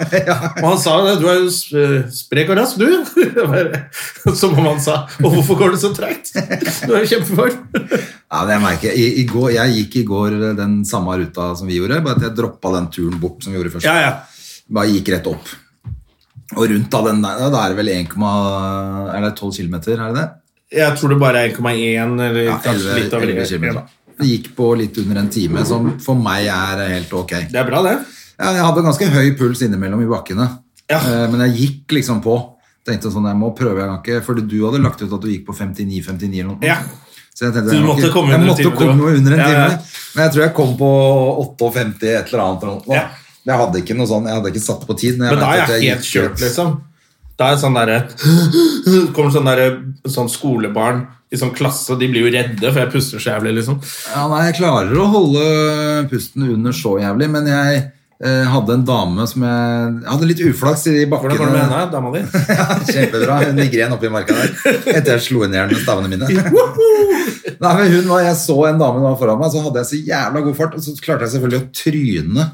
Speaker 1: Og han sa det. Du er jo sp- eh, sprek og rask, du. Jeg bare- Som om han sa Og hvorfor går det så tregt? Du er jo kjempeform.
Speaker 2: Ja, men jeg merker, i, i går, jeg gikk i går eh, den samme ruta som vi gjorde, bare at jeg droppa den turen bort som vi gjorde først.
Speaker 1: Ja, ja.
Speaker 2: Bare gikk rett opp. Og rundt da den der, da er det vel 1, er det 12 km, er det det?
Speaker 1: Jeg tror det bare er 1,1 eller
Speaker 2: Ja,
Speaker 1: kanskje
Speaker 2: 11,
Speaker 1: litt over
Speaker 2: 11 km.
Speaker 1: det.
Speaker 2: Det gikk på litt under en time, som for meg er helt ok.
Speaker 1: Det er bra, det.
Speaker 2: Ja, Jeg hadde ganske høy puls innimellom i bakkene,
Speaker 1: Ja.
Speaker 2: Eh, men jeg gikk liksom på. Tenkte sånn, jeg må prøve, jeg kan ikke, fordi du hadde lagt ut at du gikk på 59-59 eller noe.
Speaker 1: Ja.
Speaker 2: Så jeg
Speaker 1: Så
Speaker 2: tenkte,
Speaker 1: du
Speaker 2: jeg må
Speaker 1: måtte
Speaker 2: ikke-
Speaker 1: komme
Speaker 2: jeg
Speaker 1: under
Speaker 2: måtte
Speaker 1: en time,
Speaker 2: komme
Speaker 1: du var.
Speaker 2: under en
Speaker 1: Ja, ja.
Speaker 2: time. Men jeg tror jeg kom på 58 et eller annet. eller noe.
Speaker 1: Ja.
Speaker 2: Jeg hadde ikke noe sånn, jeg hadde ikke satt på tid. Men, jeg
Speaker 1: Men da
Speaker 2: vet
Speaker 1: er
Speaker 2: at
Speaker 1: jeg helt
Speaker 2: gikk
Speaker 1: kjørt,
Speaker 2: rett.
Speaker 1: liksom. Da er jeg sånn derre Kommer sånn derre sånn skolebarn i sånn klasse, de blir jo redde, for jeg puster så jævlig, liksom.
Speaker 2: Ja, nei, jeg klarer å holde pusten under så jævlig, men jeg eh, hadde en dame som jeg, jeg hadde litt uflaks i bakkene.
Speaker 1: Hvordan går det med henne, dama di?
Speaker 2: Ja, Kjempebra. Hun migren oppi marka der etter jeg slo henne i hjel med stavene mine. Nei, men hun var, Jeg så en dame som var foran meg, så hadde jeg så jævla god fart, og så klarte jeg selvfølgelig å tryne.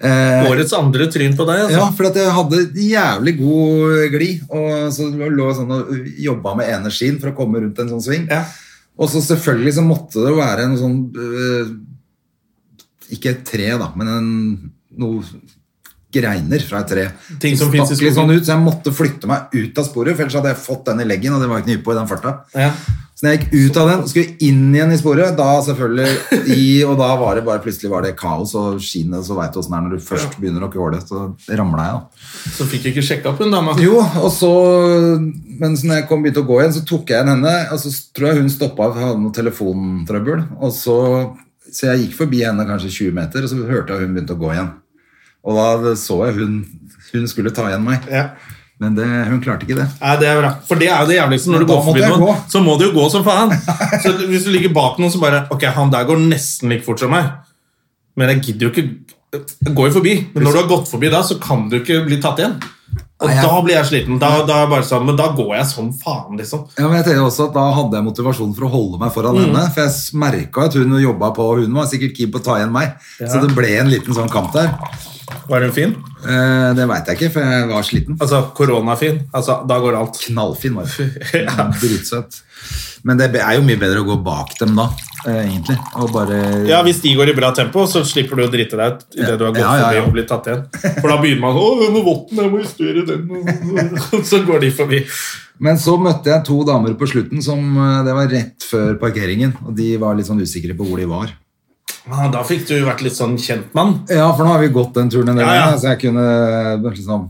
Speaker 2: Eh,
Speaker 1: Årets andre tryn på deg, altså.
Speaker 2: ja, for at jeg hadde jævlig god glid, og så lå jeg sånn og jobba med ene skien for å komme rundt en sånn sving.
Speaker 1: Ja.
Speaker 2: Og så selvfølgelig så måtte det være en sånn øh, Ikke et tre, da, men en, noe greiner fra et tre.
Speaker 1: Ting som
Speaker 2: Stakk
Speaker 1: finnes i skogen.
Speaker 2: litt sånn ut, så jeg måtte flytte meg ut av sporet, for ellers hadde jeg fått den i leggen, og det var ikke nye på i den farta.
Speaker 1: Ja.
Speaker 2: Så når jeg gikk ut av den og skulle inn igjen i sporet, da selvfølgelig i, og da var det bare plutselig var det kaos, og skinnet så veit du åssen det er når du først begynner å kåle, så ramla jeg, da.
Speaker 1: Så fikk jeg ikke sjekka opp hun dama.
Speaker 2: Jo, og så mens når jeg kom begynte å gå igjen, så tok jeg igjen henne, og så tror jeg hun stoppa for hun hadde noe telefontrøbbel. Og så, så jeg gikk forbi henne kanskje 20 meter, og så hørte jeg hun begynte å gå igjen. Og da så jeg hun, hun skulle ta igjen meg,
Speaker 1: Ja.
Speaker 2: men det, hun klarte ikke det.
Speaker 1: Nei, det er bra. For det er jo det jævligste. Når
Speaker 2: Men
Speaker 1: du
Speaker 2: da
Speaker 1: går forbi
Speaker 2: måtte jeg
Speaker 1: noen,
Speaker 2: gå.
Speaker 1: så må du jo gå som faen. Så hvis du ligger bak noen, så bare Ok, han der går nesten like fort som meg. Men jeg gidder jo ikke Jeg går jo forbi. Men når du har gått forbi da, så kan du ikke bli tatt igjen. Og
Speaker 2: Nei, jeg-
Speaker 1: da blir jeg sliten. Da, da er jeg bare sånn Men da går jeg som faen, liksom.
Speaker 2: Ja, men jeg tenker også at Da hadde jeg motivasjon for å holde meg foran henne. For jeg merka at hun jobba på, og hun var sikkert keen på å ta igjen meg. Så det ble en liten sånn kamp der.
Speaker 1: Var hun fin?
Speaker 2: Eh, det veit jeg ikke, for jeg var sliten.
Speaker 1: Altså, koronafin. Altså, da går alt.
Speaker 2: knallfin var det. Dritsøt. Men det er jo mye bedre å gå bak dem da, eh, egentlig. Og bare
Speaker 1: Ja, Hvis de går i bra tempo, så slipper du å drite deg ut idet du har gått
Speaker 2: Mm. Ja, ja, ja.
Speaker 1: forbi og blitt tatt igjen. For da begynner man å 'Hvem er votten? Jeg må justere den.' Så går de forbi.
Speaker 2: Men så møtte jeg to damer på slutten som eh, Det var rett før parkeringen, og de var litt sånn usikre på hvor de var.
Speaker 1: Ja, da fikk du vært litt sånn kjentmann.
Speaker 2: Ja, for nå har vi gått den turen en del
Speaker 1: Ja, ja.
Speaker 2: ganger, så jeg kunne liksom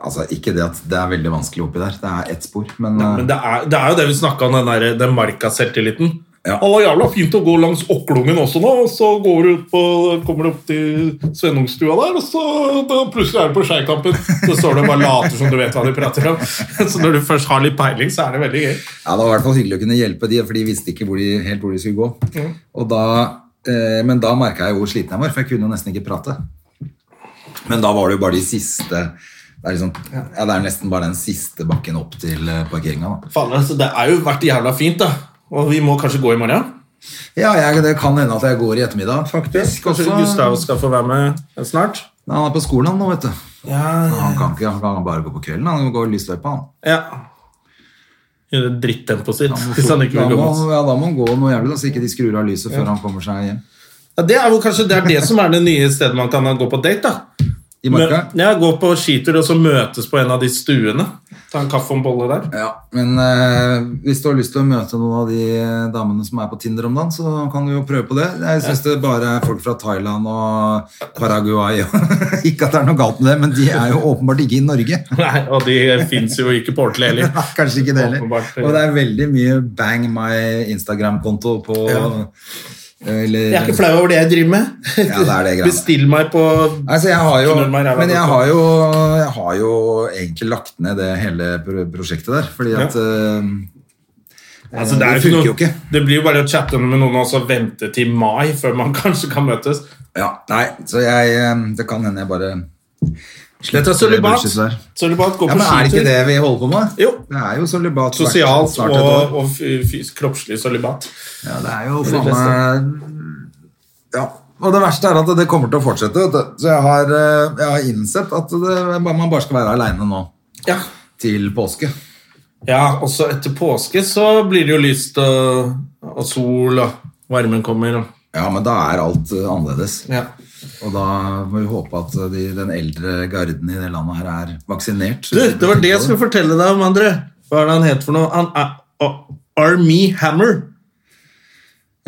Speaker 2: Altså, ikke det at det er veldig vanskelig oppi der, det er ett spor, men, eh,
Speaker 1: Men det er, det er jo det vi snakka om, den, der, den markaselvtilliten.
Speaker 2: Ja.
Speaker 1: Det var jævla fint å gå langs Okklungen også nå, og så går du ut på, kommer du opp til Svennungstua der, og så da plutselig er du på Skeikampen. Så står du og bare later som du vet hva de prater om. Så når du først har litt peiling, så er det veldig gøy.
Speaker 2: Ja, Det var i hvert fall hyggelig å kunne hjelpe de, for de visste ikke hvor de, helt hvor de skulle gå.
Speaker 1: Mm.
Speaker 2: Og da, eh, men da merka jeg hvor sliten jeg var, for jeg kunne jo nesten ikke prate. Men da var det jo bare de siste Det er, liksom, ja, det er nesten bare den siste bakken opp til eh, parkeringa.
Speaker 1: Faen, altså, det er jo vært jævla fint, da. Og vi må kanskje gå i morgen?
Speaker 2: Ja, jeg, det kan hende at jeg går i ettermiddag, faktisk.
Speaker 1: Kanskje
Speaker 2: også.
Speaker 1: Gustav skal få være med snart?
Speaker 2: Han er på skolen han nå, vet du.
Speaker 1: Ja,
Speaker 2: Han kan ikke, han kan bare gå på kvelden. Han går lysløypa, han.
Speaker 1: ja. Gjøre drittempoet sitt. Hvis han ikke
Speaker 2: Da
Speaker 1: vil gå
Speaker 2: må,
Speaker 1: med oss.
Speaker 2: ja, da må han gå noe jævlig, da, så ikke de skrur av lyset før han kommer seg hjem.
Speaker 1: Ja, det er jo kanskje det, er det som er det nye stedet man kan gå på date. da
Speaker 2: I marka?
Speaker 1: Men, ja, Gå på skitur og så møtes på en av de stuene. Ta en kaffe og en bolle der.
Speaker 2: Ja, men eh, hvis du har lyst til å møte noen av de eh, damene som er på Tinder om dagen, så kan du jo prøve på det. Jeg syns det bare er folk fra Thailand og Paraguay Ikke at det er noe galt med det, men de er jo åpenbart ikke i Norge.
Speaker 1: Nei, Og de fins jo ikke på ordentlig heller.
Speaker 2: Nei, Kanskje ikke det heller.
Speaker 1: Åpenbart.
Speaker 2: Og det er veldig mye bang my Instagram-konto på eh, eller,
Speaker 1: Jeg er ikke flau over det jeg driver med.
Speaker 2: Ja, det er det greiene.
Speaker 1: Bestill meg på
Speaker 2: Altså, jeg har jo,
Speaker 1: Knull meg i ræva,
Speaker 2: men jeg
Speaker 1: doktor.
Speaker 2: har, jo, jeg har jo egentlig lagt ned det hele pro- prosjektet der, fordi at eh,
Speaker 1: Altså, det, er
Speaker 2: det
Speaker 1: jo ikke
Speaker 2: funker jo
Speaker 1: noe,
Speaker 2: ikke.
Speaker 1: det blir jo bare å chatte med noen og så vente til mai før man kanskje kan møtes.
Speaker 2: Ja, nei, så jeg, eh, det kan hende jeg bare
Speaker 1: Dette er
Speaker 2: det
Speaker 1: sølibat.
Speaker 2: bullshit der.
Speaker 1: Sølibat går
Speaker 2: Ja,
Speaker 1: på
Speaker 2: men Er det ikke
Speaker 1: skitur.
Speaker 2: det vi holder på med?
Speaker 1: Jo.
Speaker 2: Det er jo sølibat. hvert-
Speaker 1: Sosialt
Speaker 2: snart et år.
Speaker 1: og, og fy- fys- kroppslig sølibat.
Speaker 2: Ja, det er jo faen meg Ja. Og det verste er at det kommer til å fortsette. Vet du. Så jeg har, eh, jeg har innsett at det, man bare skal være aleine nå
Speaker 1: Ja.
Speaker 2: til påske.
Speaker 1: Ja, og så etter påske så blir det jo lyst og, og sol, og varmen kommer. Og,
Speaker 2: Ja, men da er alt eh, annerledes.
Speaker 1: ja.
Speaker 2: Og da må vi håpe at de, den eldre garden i det landet her er vaksinert.
Speaker 1: Du, det var det jeg skulle fortelle deg om, André. Hva er det han heter for noe? Han er Ar- Armie Hammer.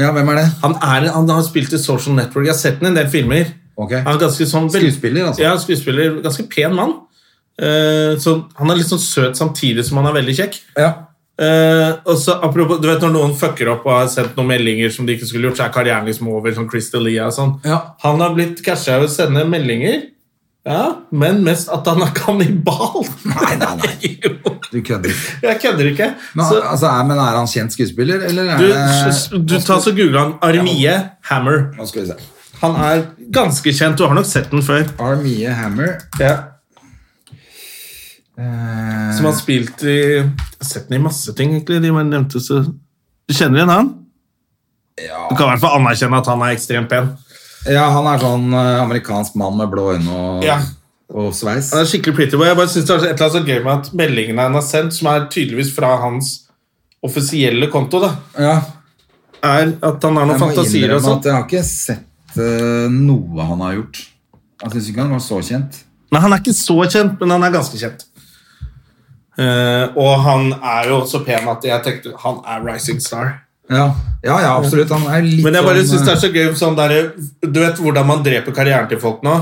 Speaker 2: Ja, hvem er det?
Speaker 1: Han, er, han har spilt i Social Network. Jeg har sett ham i en del filmer.
Speaker 2: Ok.
Speaker 1: Han er ganske sånn vel-
Speaker 2: Skuespiller, altså.
Speaker 1: Ja, skuespiller. Ganske pen mann. Eh, så han er litt sånn søt samtidig som han er veldig kjekk.
Speaker 2: Ja.
Speaker 1: Eh, og så apropos, du vet Når noen fucker opp og har sendt noen meldinger som de ikke skulle gjort, så er karrieren liksom over. sånn Chris D'Elia og sånn.
Speaker 2: Ja.
Speaker 1: Han har blitt casha ved å sende meldinger, ja, men mest at han er kannibal.
Speaker 2: Nei, nei, nei.
Speaker 1: jo,
Speaker 2: Du kødder.
Speaker 1: jeg kødder ikke.
Speaker 2: Men,
Speaker 1: så,
Speaker 2: altså, er, men er han kjent skuespiller, eller er
Speaker 1: du, s-
Speaker 2: det
Speaker 1: du tar så googler han Armie Hammer.
Speaker 2: Nå skal vi se.
Speaker 1: Han er ganske kjent. Du har nok sett den før.
Speaker 2: Armie Hammer.
Speaker 1: Ja.
Speaker 2: Eh,
Speaker 1: Som har spilt i Jeg har sett den i masse ting, egentlig. De man nevnte så Du kjenner igjen han?
Speaker 2: Ja.
Speaker 1: Du kan i hvert fall anerkjenne at han er ekstremt pen.
Speaker 2: ja, han er sånn eh, amerikansk mann med blå øyne og,
Speaker 1: Ja.
Speaker 2: og sveis.
Speaker 1: Han er skikkelig pretty boy. Jeg bare synes det er et eller annet så gøy med at meldingene han har sendt, som er tydeligvis fra hans offisielle konto, da,
Speaker 2: Ja.
Speaker 1: er at han har noen
Speaker 2: Jeg må
Speaker 1: fantasier og
Speaker 2: innrømme
Speaker 1: sånt.
Speaker 2: at jeg har ikke sett eh, noe han har gjort. Jeg syns ikke han var så kjent.
Speaker 1: Nei, han er ikke så kjent, men han er ganske kjent. Eh, og han er jo så pen at jeg tenkte han er rising star.
Speaker 2: Ja, ja, ja absolutt. Han er litt
Speaker 1: Men jeg bare
Speaker 2: sånn,
Speaker 1: synes det
Speaker 2: eh,
Speaker 1: er så gøy sånn der, Du vet hvordan man dreper karrieren til folk nå?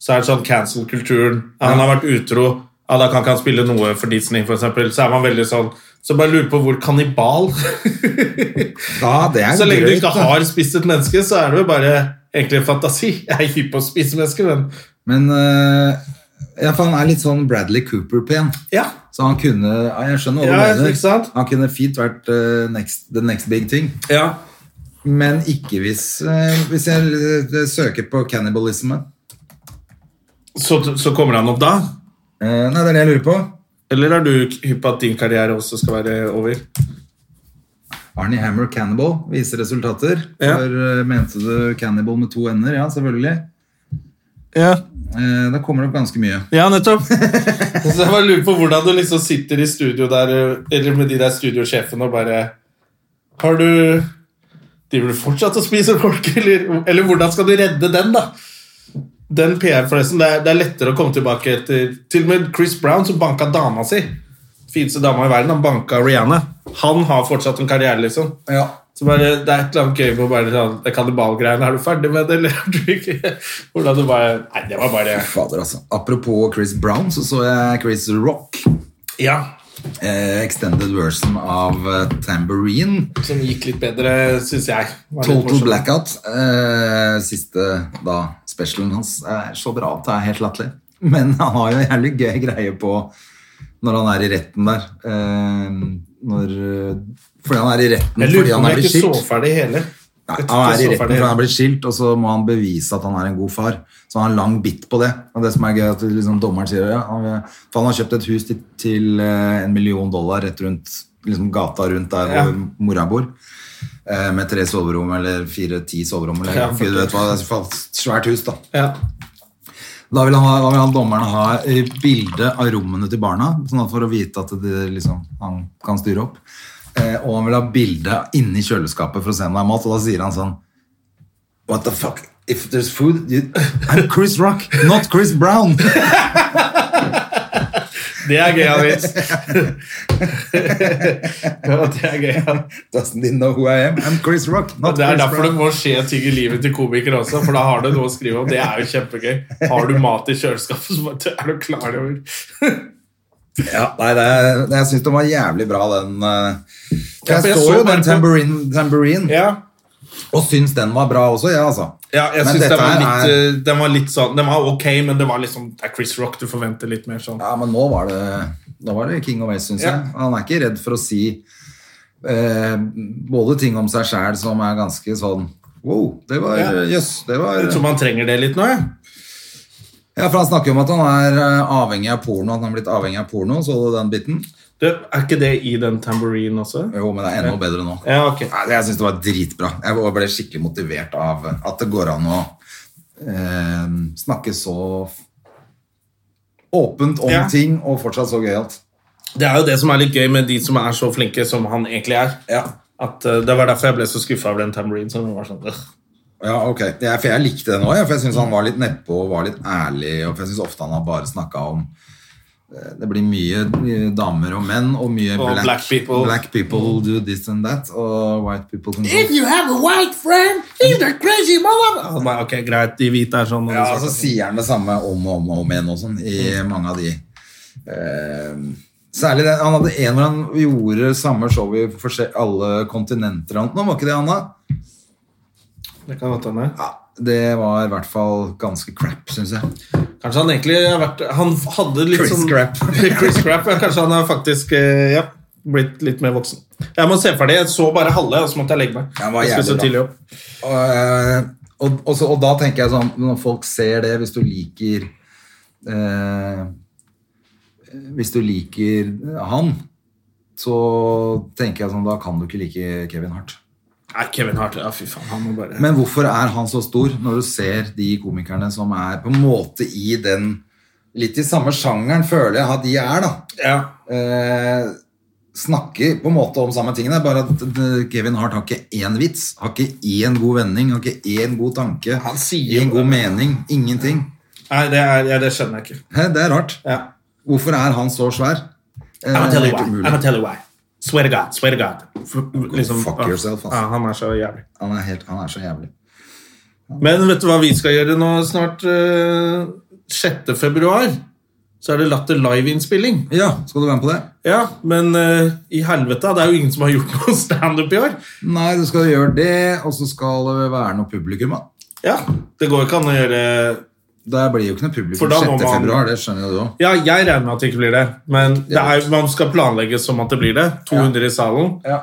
Speaker 1: Så er det sånn cancel-kulturen. Ja, Han har vært utro. Ja, da kan ikke han spille noe for Disney, for eksempel. Så er man veldig sånn Så bare lurer på hvor kannibal
Speaker 2: eh, Ja, det er
Speaker 1: Så lenge du
Speaker 2: drøyt,
Speaker 1: ikke
Speaker 2: da.
Speaker 1: har spist et menneske, så er det jo bare egentlig en fantasi. Jeg er hypp på å spise mennesker, men
Speaker 2: Men eh, ja, for han er litt sånn Bradley Cooper-pen.
Speaker 1: ja.
Speaker 2: Så han kunne ja, Jeg skjønner hva
Speaker 1: Ja,
Speaker 2: du mener.
Speaker 1: ikke sant?
Speaker 2: Han kunne fint vært eh, next, the next big thing.
Speaker 1: ja.
Speaker 2: Men ikke hvis eh, Hvis jeg eh, søker på cannibalisme.
Speaker 1: Så, så kommer han opp da?
Speaker 2: Eh, nei, det er det jeg lurer på.
Speaker 1: Eller er du hypp på at din karriere også skal være over?
Speaker 2: Arnie Hammer Cannibal viser resultater.
Speaker 1: Ja.
Speaker 2: For eh, mente du cannibal med to ender? Ja, selvfølgelig.
Speaker 1: Ja,
Speaker 2: Eh, da kommer det opp ganske mye.
Speaker 1: ja nettopp. så jeg bare lurer på hvordan du liksom sitter i studio der, eller med de der studiosjefene og bare Har du Driver du fortsatt å spise folk, eller, eller hvordan skal du redde den, da? Den PR, forresten. Det er, det er lettere å komme tilbake etter Til og med Chris Brown, som banka dama si. Fineste dama i verden. Han banka Rihanna. Han har fortsatt en karriere, liksom.
Speaker 2: Ja.
Speaker 1: Så bare, det er et eller annet gøy med å bare sånn Det kannibalgreiene, er du ferdig med det, eller er du ikke Hvordan du bare Nei, det var bare
Speaker 2: Fader, altså. Apropos Chris Brown, så så jeg Chris Rock.
Speaker 1: Ja.
Speaker 2: eh, extended version av eh, Tambourine.
Speaker 1: Som gikk litt bedre, syns jeg. Var litt
Speaker 2: Total
Speaker 1: morsom.
Speaker 2: Blackout. Eh, siste da, specialen hans er så bra at det er helt latterlig. Men han har jo en jævlig gøy greie på når han er i retten der. Eh, når, eh, fordi han er i retten
Speaker 1: Jeg lurer
Speaker 2: fordi
Speaker 1: på om
Speaker 2: han er
Speaker 1: jeg
Speaker 2: blitt
Speaker 1: ikke så
Speaker 2: skilt.
Speaker 1: ferdig hele.
Speaker 2: Nei,
Speaker 1: Jeg tror
Speaker 2: han
Speaker 1: ikke jeg så
Speaker 2: er i retten
Speaker 1: ferdig
Speaker 2: fordi han
Speaker 1: hele.
Speaker 2: er blitt skilt, og så må han bevise at han er en god far. Så han har en lang bit på det. Og det som er gøy, er at liksom, dommeren sier ja, han, For han har kjøpt et hus til, til eh, en million dollar rett rundt liksom, gata rundt der
Speaker 1: Ja.
Speaker 2: hvor mora bor. Eh, med tre soverom eller fire-ti soverom. Eller,
Speaker 1: Ja,
Speaker 2: Gud, du vet hva, det er i hvert fall et svært hus, da.
Speaker 1: Ja.
Speaker 2: Da vil, han ha, da vil han dommeren ha eh, bilde av rommene til barna, sånn at for å vite at det, liksom, han kan styre opp. Eh, og han vil ha bilde inni kjøleskapet for å se om det er mat, og da sier han sånn What the fuck? If there's food you, I'm Chris Rock, not Chris Brown!
Speaker 1: Det er gøy, Avits. ja, det er gøy. ja.
Speaker 2: Doesn't he know who I am? I'm Chris Rock,
Speaker 1: Og
Speaker 2: not
Speaker 1: Det er
Speaker 2: Chris
Speaker 1: derfor det
Speaker 2: Brown.
Speaker 1: må skje ting i livet til komikere også, for da har du noe å skrive om. Det er jo kjempegøy. Har du mat i kjøleskapet, så bare, det er du klar over
Speaker 2: Ja, nei, det er, det, jeg syns den var jævlig bra, den. eh,
Speaker 1: Ja, for
Speaker 2: jeg
Speaker 1: jeg
Speaker 2: så
Speaker 1: så
Speaker 2: jo
Speaker 1: bare
Speaker 2: den
Speaker 1: på-
Speaker 2: tambourine, tambourine
Speaker 1: Ja,
Speaker 2: og syns den var bra også, jeg, ja, altså.
Speaker 1: ja jeg
Speaker 2: Men
Speaker 1: synes
Speaker 2: dette
Speaker 1: den var,
Speaker 2: her
Speaker 1: litt,
Speaker 2: er-
Speaker 1: eh, den var litt sånn Den var ok, men det var liksom Det er Chris Rock, du forventer litt mer sånn.
Speaker 2: Ja, men nå var det, nå var det King of Waste, syns
Speaker 1: Ja.
Speaker 2: jeg. Han er ikke redd for å si eh, både ting om seg sjæl som er ganske sånn Wow, det var
Speaker 1: Ja.
Speaker 2: Jøss, det var
Speaker 1: Jeg tror man trenger det litt nå, jeg.
Speaker 2: Ja, for han snakker jo om at han er eh, avhengig av porno, at han har blitt avhengig av porno. Så du den biten?
Speaker 1: Du, er ikke det i den tambourinen også?
Speaker 2: Jo, men det er enda bedre nå.
Speaker 1: Ja, ok.
Speaker 2: Nei, jeg syns det var dritbra. Jeg ble skikkelig motivert av at det går an å eh, snakke så åpent om
Speaker 1: Ja.
Speaker 2: ting og fortsatt så gøyalt.
Speaker 1: Det er jo det som er litt gøy med de som er så flinke som han egentlig er.
Speaker 2: Ja.
Speaker 1: At eh, Det var derfor jeg ble så skuffa over den tambourinen. Som var sånn, øh.
Speaker 2: Ja, ok. Jeg, for jeg likte den òg, for jeg syns han var litt nedpå og var litt ærlig. Og for jeg syns ofte han har bare snakka om eh, Det blir mye eh, damer og menn og mye
Speaker 1: Og black people. Mm.
Speaker 2: black people do this and that. Og white people can go.
Speaker 1: you have a white friend, he's a crazy mother Nei, ok, greit, de hvite er sånn og de
Speaker 2: Ja,
Speaker 1: svarte er
Speaker 2: altså, så
Speaker 1: sånn.
Speaker 2: sier han det samme om og om og om igjen og sånn i
Speaker 1: Mm.
Speaker 2: mange av de eh, Særlig den, Han hadde en hvor han gjorde samme show i forskjell- alle kontinenter. og alt. Nå var ikke det, Anna?
Speaker 1: Det kan godt hende.
Speaker 2: Ja, det var i hvert fall ganske crap, syns jeg.
Speaker 1: Kanskje han egentlig har vært Han hadde litt
Speaker 2: Chris
Speaker 1: sånn
Speaker 2: Crap.
Speaker 1: Chris Crap, ja, Kanskje han har faktisk eh, ja, blitt litt mer voksen. Jeg må se ferdig. Jeg så bare halve, og så måtte jeg legge meg.
Speaker 2: Ja, det var
Speaker 1: Jeg skulle
Speaker 2: jævlig
Speaker 1: så tidlig
Speaker 2: bra.
Speaker 1: opp.
Speaker 2: Og, eh, og, og, så, og da tenker jeg sånn Når folk ser det, hvis du liker eh, Hvis du liker han, så tenker jeg sånn Da kan du ikke like Kevin Hart.
Speaker 1: Nei, Kevin Hart. Ja, fy faen. Han må bare
Speaker 2: Men hvorfor er han så stor, når du ser de komikerne som er på en måte i den Litt i samme sjangeren, føler jeg at de er, da.
Speaker 1: ja.
Speaker 2: Eh, snakker på en måte om samme tingene, bare at eh, Kevin Hart har ikke én vits, har ikke én god vending, har ikke én god tanke,
Speaker 1: Han sier
Speaker 2: én
Speaker 1: jo
Speaker 2: god
Speaker 1: det.
Speaker 2: mening, ingenting.
Speaker 1: Nei, det, er, ja, det skjønner jeg ikke.
Speaker 2: Hæ, det er rart.
Speaker 1: Ja.
Speaker 2: Hvorfor er han så svær? Eh,
Speaker 1: I'm gonna tell you
Speaker 2: helt
Speaker 1: why. I'm
Speaker 2: umulig.
Speaker 1: gonna tell you why. Swear to God. Swear to God. For, liksom,
Speaker 2: fuck
Speaker 1: ja.
Speaker 2: yourself, ass.
Speaker 1: Ja, han er så jævlig.
Speaker 2: Han er, helt, han er så jævlig.
Speaker 1: Men vet du hva vi skal gjøre nå snart? eh, 6. februar så er det Latter live-innspilling.
Speaker 2: Ja, skal du være med på det?
Speaker 1: Ja, men eh, i helvete, det er jo ingen som har gjort noe standup i år.
Speaker 2: Nei, du skal gjøre det, og så skal det være noe publikum, da.
Speaker 1: Ja, Det går ikke an å gjøre
Speaker 2: Det blir jo ikke noe publikum
Speaker 1: For da
Speaker 2: 6.
Speaker 1: må man-
Speaker 2: februar, det skjønner jo du òg.
Speaker 1: Ja, jeg regner med at det ikke blir det, men det er, man skal planlegge som at det blir det. 200 i salen.
Speaker 2: Ja.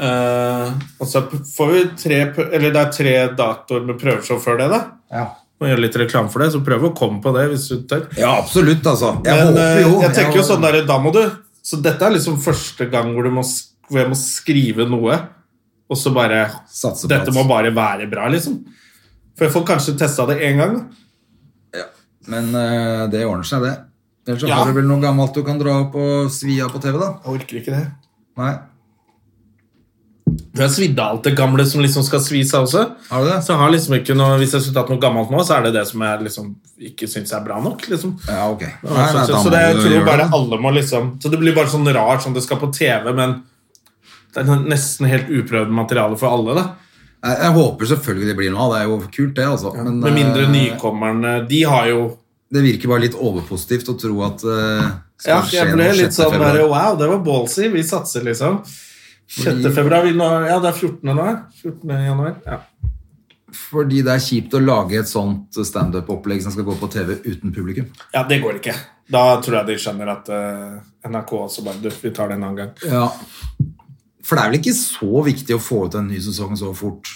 Speaker 1: Eh, og så får vi tre pr- Eller det er tre datoer med prøveshow før det, da.
Speaker 2: Ja.
Speaker 1: Må gjøre litt reklame for det, så prøv å komme på det hvis du tør.
Speaker 2: absolutt, altså. Jeg
Speaker 1: Men
Speaker 2: håper
Speaker 1: eh,
Speaker 2: jo
Speaker 1: jeg tenker jo
Speaker 2: håper-
Speaker 1: sånn der, da må du Så dette er liksom første gang hvor, du må, sk- hvor jeg må skrive noe, og så bare
Speaker 2: Satse på
Speaker 1: Dette
Speaker 2: at-
Speaker 1: må bare være bra, liksom. For jeg får kanskje testa det én gang. da.
Speaker 2: Men eh, det ordner seg, det. Ellers så
Speaker 1: Ja.
Speaker 2: har du vel noe gammelt du kan dra opp og svi av på TV, da?
Speaker 1: Jeg orker ikke det.
Speaker 2: Nei?
Speaker 1: Du har svidd av alt det gamle som liksom skal svis av også.
Speaker 2: Har du det?
Speaker 1: Så jeg har liksom ikke noe, Hvis jeg skulle tatt noe gammelt nå, så er det det som jeg liksom ikke syns er bra nok. liksom.
Speaker 2: Ja, ok.
Speaker 1: Ja, så, så, så det, jeg
Speaker 2: du
Speaker 1: tror
Speaker 2: gjøre
Speaker 1: bare
Speaker 2: det.
Speaker 1: alle må liksom Så det blir bare sånn rart sånn det skal på TV, men det er nesten helt uprøvd materiale for alle. da.
Speaker 2: Jeg, jeg håper selvfølgelig det blir noe av det. er jo kult, det, altså. Men
Speaker 1: Med mindre
Speaker 2: eh,
Speaker 1: nykommerne De har jo
Speaker 2: det virker bare litt overpositivt å tro at eh,
Speaker 1: Ja,
Speaker 2: Skal skje
Speaker 1: jeg ble
Speaker 2: noe
Speaker 1: litt
Speaker 2: 6.
Speaker 1: sånn
Speaker 2: februar.
Speaker 1: der, Wow, det var ballsy. Vi satser, liksom. 6. februar vi nå, Ja, det er 14. nå. 14. januar. Ja.
Speaker 2: Fordi det er kjipt å lage et sånt standup-opplegg som skal gå på TV uten publikum.
Speaker 1: ja, det går ikke. Da tror jeg de skjønner at eh, NRK også bare Du, vi tar det en annen gang.
Speaker 2: Ja. For det er vel ikke så viktig å få ut en ny sesong så fort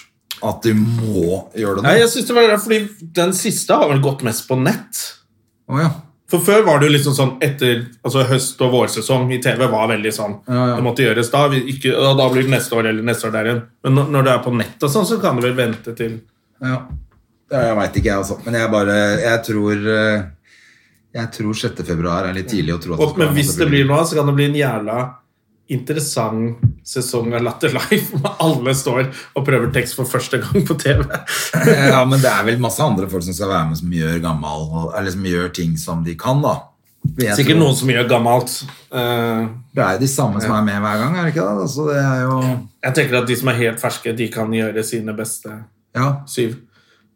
Speaker 2: at du må gjøre det
Speaker 1: Nei,
Speaker 2: nå?
Speaker 1: jeg synes det var rart, fordi Den siste har vel gått mest på nett.
Speaker 2: Å ja.
Speaker 1: For Før var det jo liksom sånn etter altså høst- og vårsesong i TV var veldig sånn
Speaker 2: Ja, ja.
Speaker 1: Det måtte gjøres da. Vi ikke, og da blir det neste år eller neste år der igjen. Men når- når det er på nett, og sånn, så kan du vel vente til
Speaker 2: ja. ja jeg veit ikke, jeg altså. Men jeg bare Jeg tror eh, Jeg tror 6. februar er litt tidlig å tro at
Speaker 1: og,
Speaker 2: skal
Speaker 1: Men
Speaker 2: være
Speaker 1: hvis
Speaker 2: masse
Speaker 1: det
Speaker 2: publikum.
Speaker 1: blir noe av, så kan det bli en jævla interessant sesong av Latter Live. Hvor alle står og prøver tekst for første gang på TV.
Speaker 2: Ja, men det er vel masse andre folk som skal være med som gjør gammal Eller som gjør ting som de kan, da. Vil jeg
Speaker 1: Sikkert
Speaker 2: tro.
Speaker 1: noen som gjør gammelt. Eh,
Speaker 2: Det er jo de samme som er med hver gang, er det ikke det? Altså, det er jo
Speaker 1: jeg tenker at de som er helt ferske, de kan gjøre sine beste
Speaker 2: Ja.
Speaker 1: syv.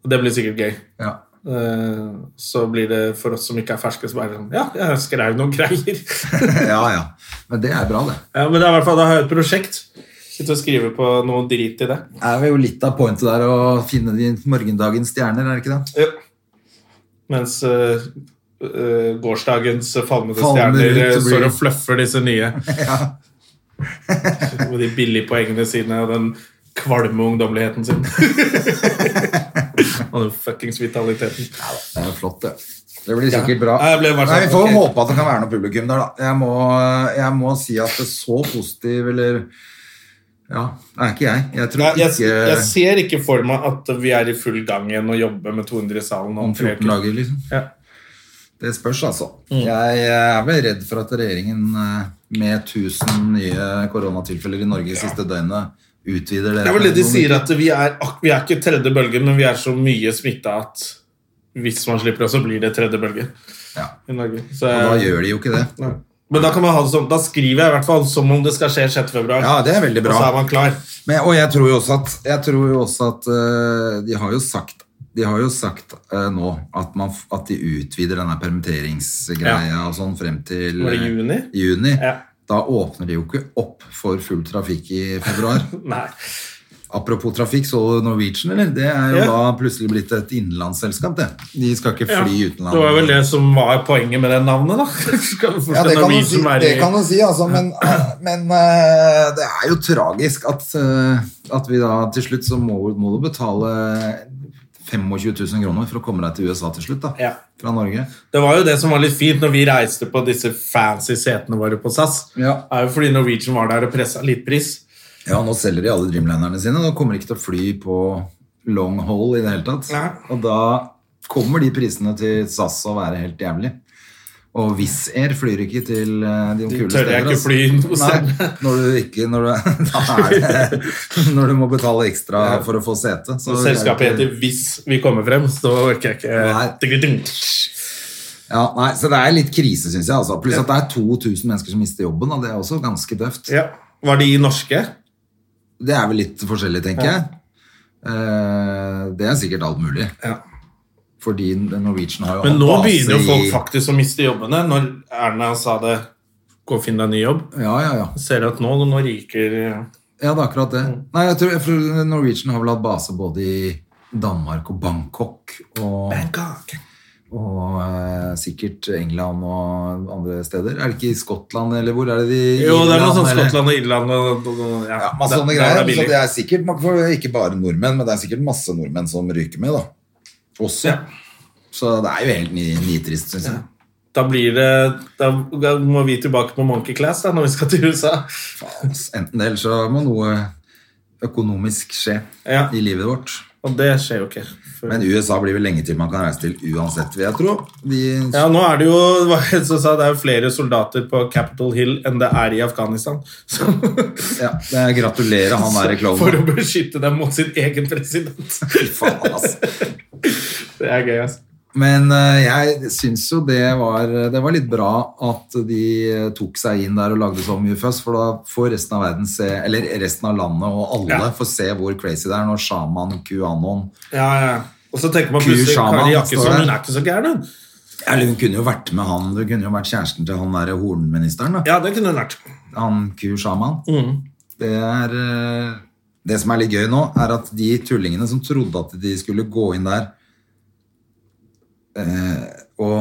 Speaker 1: Og det blir sikkert gøy.
Speaker 2: ja.
Speaker 1: Eh, så blir det for oss som ikke er ferske, så bare sånn Ja, jeg skrev noen greier.
Speaker 2: Ja, ja. Men det er bra, det.
Speaker 1: ja, men det er i hvert fall da har jeg et prosjekt. Sitte og skrive på noe drit i det.
Speaker 2: er jo litt av pointet der å finne de morgendagens stjerner, er det ikke det?
Speaker 1: Mens eh, eh, gårsdagens falmede
Speaker 2: Falmer
Speaker 1: stjerner eh,
Speaker 2: ut og blir-
Speaker 1: står og fluffer disse nye. Med de billige poengene sine og den kvalme ungdommeligheten sin. og den fuckings vitaliteten.
Speaker 2: Det er jo flott, det. Det blir sikkert bra.
Speaker 1: Nei, jeg ble bare sånn,
Speaker 2: Nei, vi får
Speaker 1: ok.
Speaker 2: håpe at det kan være noe publikum der, da. Jeg må, jeg må si at det er så positiv, eller Ja, det er ikke jeg. Jeg tror
Speaker 1: Nei, jeg,
Speaker 2: ikke
Speaker 1: jeg ser ikke for meg at vi er i full gang igjen og jobber med 200 i salen
Speaker 2: om
Speaker 1: om tre
Speaker 2: 14
Speaker 1: uker.
Speaker 2: dager, liksom.
Speaker 1: Ja.
Speaker 2: Det spørs, altså.
Speaker 1: Mm.
Speaker 2: Jeg er vel redd for at regjeringen eh, med 1000 nye koronatilfeller i Norge i siste døgnet utvider det.
Speaker 1: Det er vel det de
Speaker 2: Noen
Speaker 1: sier,
Speaker 2: uker.
Speaker 1: at vi er, ak- vi er ikke tredje bølge, men vi er så mye smitta at hvis man slipper det, så blir det tredje bølge
Speaker 2: Ja.
Speaker 1: i Norge. Så,
Speaker 2: Og da gjør de jo ikke det.
Speaker 1: Nei. Men da, kan man ha det sånn, da skriver jeg i hvert fall som om det skal skje 6. februar.
Speaker 2: Ja, det er veldig bra.
Speaker 1: Og så er man klar.
Speaker 2: Men, og jeg tror jo også at, jeg tror jo også at eh, de har jo sagt, de har jo sagt eh, nå at, man, f- at de utvider denne permitteringsgreia og sånn frem til
Speaker 1: Var det
Speaker 2: eh,
Speaker 1: juni?
Speaker 2: juni.
Speaker 1: Ja.
Speaker 2: Da åpner de jo ikke opp for full trafikk i februar.
Speaker 1: Nei.
Speaker 2: Apropos trafikk, så du Norwegian, eller? Det er jo
Speaker 1: Ja.
Speaker 2: da plutselig blitt et innenlandsselskap, det. De skal ikke
Speaker 1: Ja.
Speaker 2: fly
Speaker 1: Det
Speaker 2: utenlands.
Speaker 1: var vel det som var poenget med det navnet, da. Skal vi
Speaker 2: Ja,
Speaker 1: forstå
Speaker 2: det kan du
Speaker 1: Norwegian
Speaker 2: si,
Speaker 1: være i-
Speaker 2: det kan du si altså, men, men eh, det er jo tragisk at, eh, at vi da til slutt så må, må du betale 25 000 kroner for å komme deg til USA til slutt, da.
Speaker 1: Ja.
Speaker 2: Fra Norge.
Speaker 1: Det var jo det som var litt fint når vi reiste på disse fancy setene våre på SAS.
Speaker 2: Ja.
Speaker 1: er jo fordi Norwegian var der og pressa litt pris.
Speaker 2: Ja, nå selger de alle Dreamlinerne sine. Nå kommer de ikke til å fly på long haul i det hele tatt.
Speaker 1: Nei.
Speaker 2: Og da kommer de prisene til SAS å være helt jævlig. Og Wizz Air flyr ikke til eh, de, kule
Speaker 1: tør
Speaker 2: steder.
Speaker 1: jeg ikke
Speaker 2: ass.
Speaker 1: fly noe sted.
Speaker 2: Nei, når du ikke når du, da er det, når du må betale ekstra for å få sete. så
Speaker 1: Så
Speaker 2: er det
Speaker 1: selskapet
Speaker 2: ikke-
Speaker 1: heter Hvis vi kommer frem, så orker jeg
Speaker 2: Nei.
Speaker 1: ikke Nei.
Speaker 2: ja, nei, Så det er litt krise, syns jeg. Altså. Pluss at det er 2000 mennesker som mister jobben. Og det er også ganske døvt.
Speaker 1: Ja. Var de norske?
Speaker 2: Det er vel litt forskjellig, tenker jeg. Eh, Det er sikkert alt mulig.
Speaker 1: Ja.
Speaker 2: Fordi Norwegian har jo
Speaker 1: Men
Speaker 2: hatt
Speaker 1: nå
Speaker 2: base
Speaker 1: begynner jo folk
Speaker 2: i-
Speaker 1: faktisk å miste jobbene. Når Erna sa det Gå og finn deg en ny jobb.
Speaker 2: Ja, ja, ja.
Speaker 1: Ser at nå, nå ryker
Speaker 2: Ja, det er akkurat det. Nei, jeg tror, jeg tror Norwegian har vel hatt base både i Danmark og Bangkok. Og, og eh, sikkert England og andre steder. Er det ikke i Skottland, eller hvor er det de
Speaker 1: Jo, det er noe sånn
Speaker 2: eller-
Speaker 1: Skottland og Irland og, og, og ja,
Speaker 2: Ja, masse
Speaker 1: der-
Speaker 2: sånne
Speaker 1: der
Speaker 2: greier.
Speaker 1: er det
Speaker 2: så
Speaker 1: billig.
Speaker 2: det er sikkert man får- ikke bare nordmenn, men det er sikkert masse nordmenn som ryker med, da. Også.
Speaker 1: Ja.
Speaker 2: Så det er jo helt ni- nitrist, syns jeg.
Speaker 1: Da blir det Da da må vi tilbake på Monkey Class da, når vi skal til USA.
Speaker 2: Ass, Enten det, eller så må noe økonomisk skje
Speaker 1: Ja.
Speaker 2: i livet vårt.
Speaker 1: Og det skjer jo ikke. For-
Speaker 2: Men USA blir vel lenge til man kan reise til uansett, vil jeg tro. De,
Speaker 1: Ja, nå er det jo det var en som sa, det er jo flere soldater på Capitol Hill enn det er i Afghanistan. Så,
Speaker 2: ja, det er gratulerer han der
Speaker 1: for å
Speaker 2: klovnen.
Speaker 1: beskytte dem mot sin egen president.
Speaker 2: Fy faen, ass.
Speaker 1: Det er gøy, ass.
Speaker 2: Men eh, jeg syns jo det var, det var litt bra at de eh, tok seg inn der og lagde så mye føss, for da får resten av verden se, eller resten av landet og alle
Speaker 1: Ja.
Speaker 2: får se hvor crazy det er når sjaman QAnon
Speaker 1: Ja, ja. Og så tenker man
Speaker 2: Ku
Speaker 1: plutselig
Speaker 2: Shaman
Speaker 1: Kari
Speaker 2: står
Speaker 1: Jakkesson,
Speaker 2: der.
Speaker 1: hun er ikke så gæren, hun.
Speaker 2: Eller hun kunne jo vært med han Du kunne jo vært kjæresten til han der hornministeren. Da.
Speaker 1: Ja, det kunne hun vært.
Speaker 2: Han Ku Shaman.
Speaker 1: Mm.
Speaker 2: Det er eh, Det som er litt gøy nå, er at de tullingene som trodde at de skulle gå inn der eh, og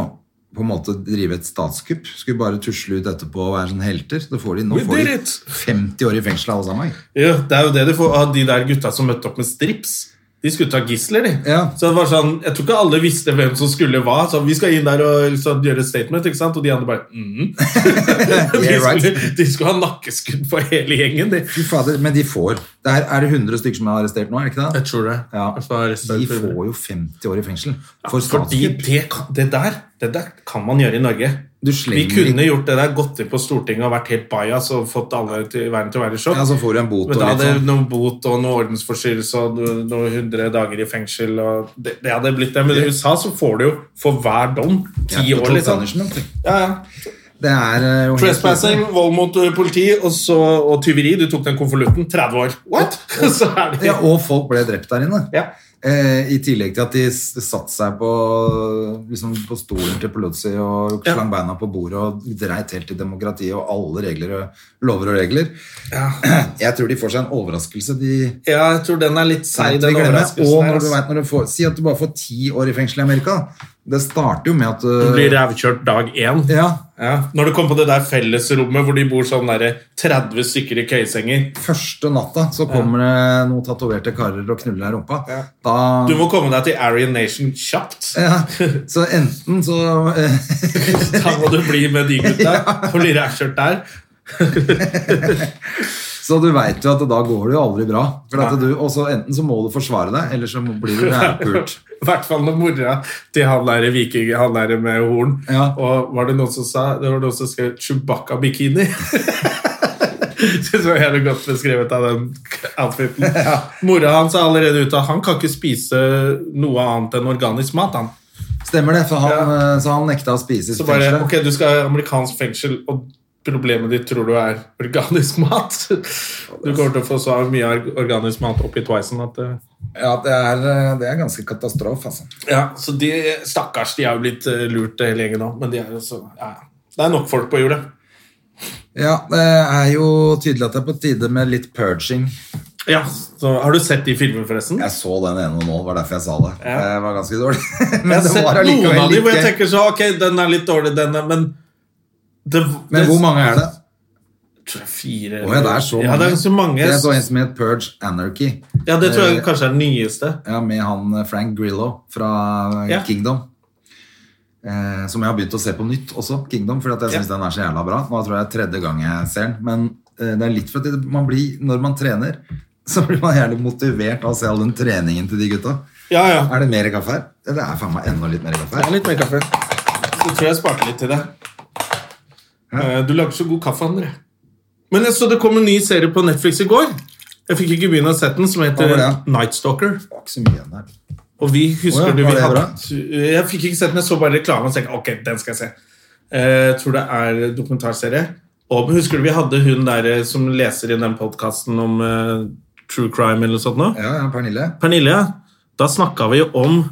Speaker 2: på en måte drive et statskupp, skulle bare tusle ut etterpå og være sånn helter. Det får de, nå
Speaker 1: We
Speaker 2: får
Speaker 1: did
Speaker 2: de
Speaker 1: it!
Speaker 2: 50 år i fengsel alle sammen.
Speaker 1: Ja, det er jo det du får av de der gutta som møtte opp med strips. De skulle ta gisler, de.
Speaker 2: Ja.
Speaker 1: Så det var sånn, Jeg tror ikke alle visste hvem som skulle hva. Så vi skal inn der og liksom gjøre et statement, ikke sant? og de andre bare mm. de,
Speaker 2: Yeah, right.
Speaker 1: skulle, de skulle ha nakkeskudd for hele gjengen, de.
Speaker 2: Fy fader, men de får. Det er, er det 100 stykker som er arrestert nå, er det ikke det?
Speaker 1: Jeg tror det.
Speaker 2: Ja,
Speaker 1: Jeg får arrestere
Speaker 2: de
Speaker 1: for-
Speaker 2: får jo 50 år i fengsel for
Speaker 1: Fordi
Speaker 2: statskupp.
Speaker 1: det, kan- det, der, det der kan man gjøre i Norge.
Speaker 2: Du
Speaker 1: Vi
Speaker 2: slenger
Speaker 1: kunne gjort det der, gått inn på Stortinget og vært helt bajas og fått alle til verden til å være i sjokk.
Speaker 2: Ja, så får du en bot
Speaker 1: Men
Speaker 2: og
Speaker 1: da
Speaker 2: litt
Speaker 1: hadde
Speaker 2: sånn.
Speaker 1: noe bot og noe ordensforstyrrelse og no- noe 100 dager i fengsel. Og det, det hadde blitt det. Men i USA så får du jo for hver dom ti
Speaker 2: Ja,
Speaker 1: år,
Speaker 2: Tom
Speaker 1: liksom.
Speaker 2: Andersen, vet du.
Speaker 1: Ja, ja.
Speaker 2: Det er eh, jo helt-
Speaker 1: Trespassing, vold mot eh, politi og, så, og tyveri. Du tok den konvolutten. 30 år. What?! Så er det
Speaker 2: Ja, og folk ble drept der inne.
Speaker 1: Ja.
Speaker 2: Eh, I tillegg til at de s- satt seg på, liksom, på stolen til Pelosi og
Speaker 1: Ja.
Speaker 2: slang beina på bordet og dreit helt i demokratiet og alle regler og lover og regler. Jeg tror de får seg en overraskelse. De
Speaker 1: ja, jeg tror den er litt seig,
Speaker 2: Vet
Speaker 1: den
Speaker 2: vi glemmer,
Speaker 1: overraskelsen.
Speaker 2: og
Speaker 1: der,
Speaker 2: når du
Speaker 1: altså.
Speaker 2: vet når du får, Si at du bare får ti år i fengsel i Amerika. da. Det starter jo med at
Speaker 1: Du
Speaker 2: uh,
Speaker 1: blir rævkjørt dag én.
Speaker 2: ja,
Speaker 1: Ja. Når du kom på det der fellesrommet hvor de bor sånn der 30 stykker i køyesenger
Speaker 2: Første natta så kommer det noen tatoverte karer og knuller deg i rumpa.
Speaker 1: Ja.
Speaker 2: Da,
Speaker 1: Du må komme deg til Aryan Nation kjapt.
Speaker 2: ja, så enten så eh,
Speaker 1: Da må du bli med de gutta og bli rævkjørt der.
Speaker 2: Så du veit jo at da går det jo aldri bra. For at
Speaker 1: Nei.
Speaker 2: du, og så Enten så må du forsvare deg, eller så må- blir du rævpult.
Speaker 1: I hvert fall når mora til han der viking, han der med horn
Speaker 2: Ja.
Speaker 1: Og var det noen som sa Det var noen som skrev Chewbacca-bikini. Synes jeg var jævlig godt beskrevet av den outfiten. Mora hans er allerede ute. Han kan ikke spise noe annet enn organisk mat. han.
Speaker 2: Stemmer det? For han,
Speaker 1: Ja.
Speaker 2: eh, Så han nekta å spise i
Speaker 1: Så bare,
Speaker 2: fengselet.
Speaker 1: ok, du skal i amerikansk fengsel, og problemet ditt tror du er organisk mat. Du kommer til å få så mye organisk mat oppi twice-en at eh,
Speaker 2: Ja, det er, eh, det er ganske katastrofe, altså.
Speaker 1: Ja, så de, stakkars, de har jo blitt eh, lurt hele gjengen nå, men de er jo så, ja, ja. Det er nok folk på jordet.
Speaker 2: Ja, det er jo tydelig at det er på tide med litt purging.
Speaker 1: Ja, så har du sett de filmene forresten?
Speaker 2: Jeg så den ene nå, det var derfor jeg sa det.
Speaker 1: Ja.
Speaker 2: Det var ganske dårlig. Men
Speaker 1: jeg har
Speaker 2: det
Speaker 1: sett
Speaker 2: var allikevel
Speaker 1: noen av de hvor jeg
Speaker 2: like-
Speaker 1: tenker så, ok, den er litt dårlig, denne, men... Det,
Speaker 2: Men hvor mange er det?
Speaker 1: Jeg tror det er fire.
Speaker 2: Å ja, det er så mange.
Speaker 1: Ja, det er så mange.
Speaker 2: Jeg så en som het Purge Anarchy.
Speaker 1: Ja, det tror jeg
Speaker 2: Eh,
Speaker 1: kanskje er den nyeste.
Speaker 2: Ja, med han eh, Frank Grillo fra eh,
Speaker 1: Ja.
Speaker 2: Kingdom. Eh, som jeg har begynt å se på nytt også, Kingdom, fordi at jeg
Speaker 1: Ja.
Speaker 2: syns den er så jævla bra. Nå tror jeg det er tredje gang jeg ser den. Men eh, det er litt for at det- man blir, når man trener, så blir man jævlig motivert av å se all den treningen til de gutta.
Speaker 1: Ja, ja.
Speaker 2: Er det mer kaffe her? Ja, Det er faen meg enda litt mer kaffe
Speaker 1: Jeg
Speaker 2: her.
Speaker 1: har litt mer kaffe. Så tror jeg jeg sparte litt til deg. Eh, Du lager så god kaffe, André. Men jeg så det kom en ny serie på Netflix i går. Jeg fikk ikke begynne å sette den, som heter
Speaker 2: Hva var det?
Speaker 1: Night Stalker.
Speaker 2: Det var ikke så mye igjen der.
Speaker 1: Og vi husker
Speaker 2: Å ja,
Speaker 1: du
Speaker 2: var
Speaker 1: vi
Speaker 2: det
Speaker 1: hadde,
Speaker 2: bra?
Speaker 1: Jeg fikk ikke sett den, jeg så bare reklamen og tenkte ok, den skal jeg se. Eh, Jeg tror det er dokumentarserie. Og husker du vi hadde hun der eh, som leser i den podkasten om eh, true crime eller noe sånt nå?
Speaker 2: Ja, ja, Pernille.
Speaker 1: Pernille, ja. da snakka vi om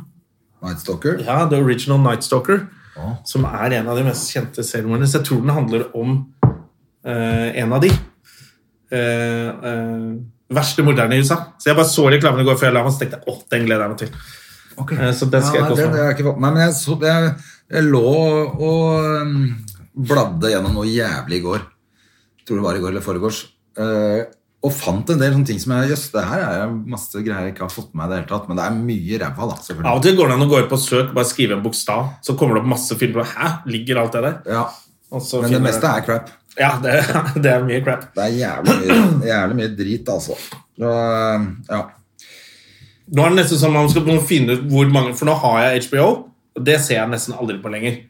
Speaker 2: Night Stalker.
Speaker 1: ja, The Original Night Stalker,
Speaker 2: Ja.
Speaker 1: som er en av de mest kjente seriemorderne. Så jeg tror den handler om eh, en av de. Eh, eh, verste morderne i USA. Så jeg bare så reklamen i går før jeg la meg, så tenkte jeg åh, den gleder jeg meg til. Eh, Så den skal jeg
Speaker 2: Ja, nei,
Speaker 1: kose
Speaker 2: det,
Speaker 1: meg
Speaker 2: det
Speaker 1: med.
Speaker 2: har jeg ikke fått med meg, men jeg, så, jeg, jeg lå og um, bladde gjennom noe jævlig i går. Tror det var i går eller foregårs. Eh, og fant en del sånne ting som jeg Jøss, det her er masse greier jeg ikke har fått med meg i det hele tatt. Men det er mye ræva,
Speaker 1: Av
Speaker 2: da.
Speaker 1: og
Speaker 2: selvfølgelig.
Speaker 1: til går det an å gå inn på søk og bare skrive en bokstav, så kommer det opp masse filmer. Hæ? Ligger alt det der?
Speaker 2: Ja,
Speaker 1: Og så
Speaker 2: men det
Speaker 1: finner
Speaker 2: meste er crap.
Speaker 1: Ja, det, det er mye crap.
Speaker 2: Det er jævlig mye, jævlig mye drit, altså. Og, ja.
Speaker 1: Nå er det nesten som om man skal begynne å finne ut hvor mange For nå har jeg HBO, og det ser jeg nesten aldri på lenger.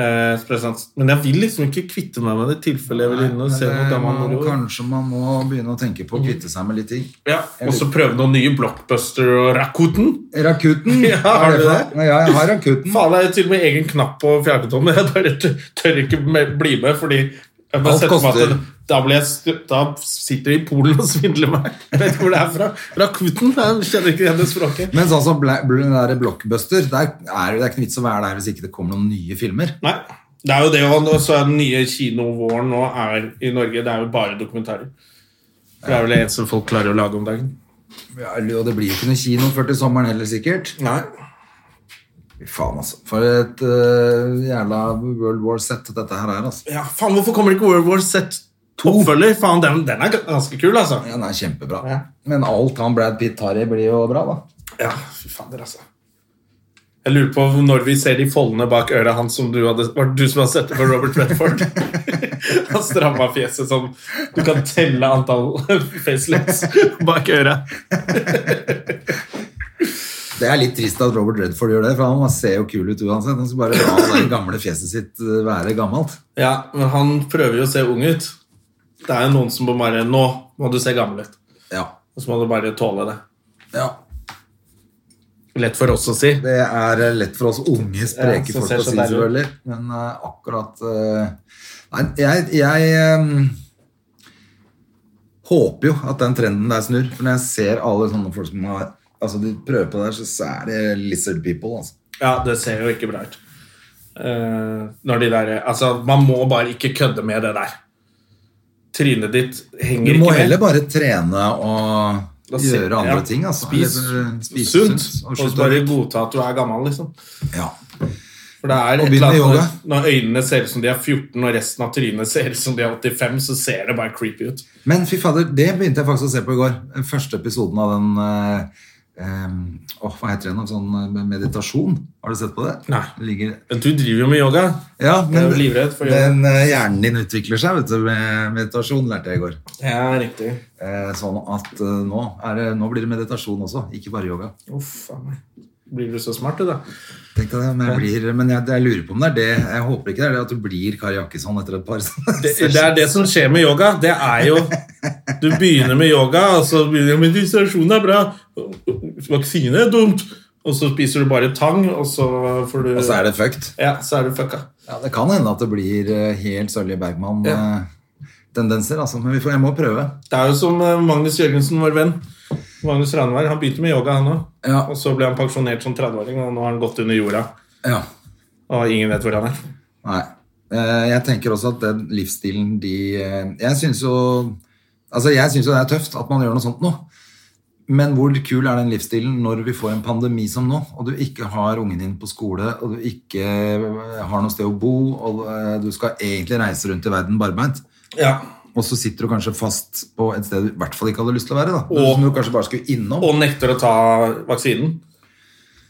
Speaker 1: Eh, spesielt sant. men jeg vil liksom ikke kvitte meg med det i tilfelle jeg vil inn og se noe
Speaker 2: Men det
Speaker 1: gammel
Speaker 2: må-
Speaker 1: moro.
Speaker 2: kanskje man må begynne å tenke på å kvitte seg med litt ting.
Speaker 1: Ja, og så prøve noen nye Blockbuster og Rakuten.
Speaker 2: Rakuten?
Speaker 1: Ja,
Speaker 2: hva
Speaker 1: har
Speaker 2: er det
Speaker 1: du
Speaker 2: for
Speaker 1: det?
Speaker 2: noe? Ja, jeg har Rakuten.
Speaker 1: Faen, det er til og med egen knapp på fjernkontrollen, men jeg bare tør ikke me- bli med fordi Jeg bare
Speaker 2: Alt
Speaker 1: ser for meg at
Speaker 2: koster.
Speaker 1: det- Da, blir jeg, stu- da sitter de i Polen og svindler meg. Jeg vet ikke hvor det er fra. Rakuten? Jeg kjenner ikke igjen det språket.
Speaker 2: Men sånn som Bla- Bl- den der Blockbuster, der er, det er ikke noe vits å være der hvis ikke det kommer noen nye filmer.
Speaker 1: Nei. Det er jo det, og nå så er den nye kinovåren nå er i Norge. Det er jo bare dokumentarer. Det er vel det eneste folk klarer å lage om dagen.
Speaker 2: Ja, Og det blir jo ikke noe kino før til sommeren heller, sikkert.
Speaker 1: Nei.
Speaker 2: Fy faen, altså. For et øh, jævla World War Z dette her er, altså.
Speaker 1: Ja, faen, hvorfor kommer ikke World War Z oppfølger? Faen, den, den er ganske kul, altså.
Speaker 2: Ja, den er kjempebra.
Speaker 1: Ja.
Speaker 2: Men alt han Brad Pitt tar i, blir jo bra, da.
Speaker 1: Ja, fy fader, altså. Jeg lurer på når vi ser de foldene bak øret hans som du hadde, var det du som hadde sett det for Robert Redford. Han stramma fjeset som Du kan telle antall facelifts bak øret.
Speaker 2: Det er litt trist at Robert Redford gjør det, for han ser jo kul ut uansett. Han skal bare la det gamle fjeset sitt øh, være gammelt.
Speaker 1: Ja, men han prøver jo å se ung ut. Det er jo noen som må bare Nå må du se gammel ut.
Speaker 2: Ja.
Speaker 1: Og så må du bare tåle det.
Speaker 2: ja.
Speaker 1: Lett for oss å si.
Speaker 2: Det er øh, lett for oss unge,
Speaker 1: Ja,
Speaker 2: spreke
Speaker 1: som
Speaker 2: folk
Speaker 1: ser
Speaker 2: å
Speaker 1: så
Speaker 2: si,
Speaker 1: deilig ut.
Speaker 2: selvfølgelig. Men øh, akkurat øh, Nei, jeg, jeg øhm, håper jo at den trenden der snur. For når jeg ser alle sånne folk som har Altså, de prøver på det her, så- så er det lizard people, altså.
Speaker 1: Ja, det ser jo ikke bra ut. Eh, når de der, altså, man må bare ikke kødde med det der. Trynet ditt henger
Speaker 2: Du
Speaker 1: ikke
Speaker 2: må
Speaker 1: med.
Speaker 2: heller bare trene og
Speaker 1: Da se-
Speaker 2: gjøre andre
Speaker 1: ja,
Speaker 2: ting. Altså.
Speaker 1: Spis,
Speaker 2: Eller, spise
Speaker 1: sunt,
Speaker 2: og
Speaker 1: og
Speaker 2: slutte
Speaker 1: så bare
Speaker 2: å-
Speaker 1: godta at du er gammel, liksom.
Speaker 2: ja.
Speaker 1: For det er et
Speaker 2: Og
Speaker 1: eller
Speaker 2: begynne
Speaker 1: annet
Speaker 2: med yoga.
Speaker 1: når- Når øynene ser ut som de er 14, og resten av trynet ser ut som de er 85, så ser det bare creepy ut.
Speaker 2: Men fy fader, det begynte jeg faktisk å se på i går. Den første episoden av den eh, em, åh, Hva heter det nå? Sånn eh, meditasjon. Har du sett på det?
Speaker 1: Nei.
Speaker 2: Det Ligger,
Speaker 1: Men Du driver jo med yoga.
Speaker 2: ja,
Speaker 1: Jeg
Speaker 2: men
Speaker 1: er jo livredd for yoga.
Speaker 2: den, eh, hjernen din utvikler seg vet du, med meditasjon, lærte jeg i går.
Speaker 1: Ja, riktig.
Speaker 2: Eh, sånn at eh, nå, er det, nå blir det meditasjon også, ikke bare yoga.
Speaker 1: Uff faen meg. Blir du så smart, du, da?
Speaker 2: Tenk deg det, men jeg, blir, men jeg, jeg lurer på om det er det. Jeg håper ikke det er det at du blir Kari Jakkesson etter et par sånne
Speaker 1: Det, det er det som skjer med yoga. Det er jo Du begynner med yoga, og så begynner du med distrasjon er bra. Vaksine er dumt. Og så spiser du bare tang, og så får du
Speaker 2: Og så er det fucked.
Speaker 1: Ja, så er du fucka.
Speaker 2: Ja, det kan hende at det blir eh, helt Sølje
Speaker 1: Ja.
Speaker 2: Bergman-tendenser, altså. Men vi får, jeg må prøve.
Speaker 1: Det er jo som eh, Magnus Jørgensen, vår venn. Magnus Ranvær, Han begynte med yoga, han òg.
Speaker 2: Ja.
Speaker 1: Og så ble han pensjonert som 30-åring, og nå har han gått under jorda.
Speaker 2: Ja.
Speaker 1: Og ingen vet hvor han er.
Speaker 2: Nei. Eh, Jeg tenker også at den livsstilen de eh, Jeg syns jo Altså, jeg syns jo det er tøft at man gjør noe sånt nå. Men hvor kul er den livsstilen når vi får en pandemi som nå, og du ikke har ungen din på skole, og du ikke eh, har noe sted å bo, og eh, du skal egentlig reise rundt i verden barbeint,
Speaker 1: Ja.
Speaker 2: og så sitter du kanskje fast på et sted du i hvert fall ikke hadde lyst til å være, da.
Speaker 1: Og-
Speaker 2: som du kanskje bare skulle innom.
Speaker 1: Og nekter å ta vaksinen.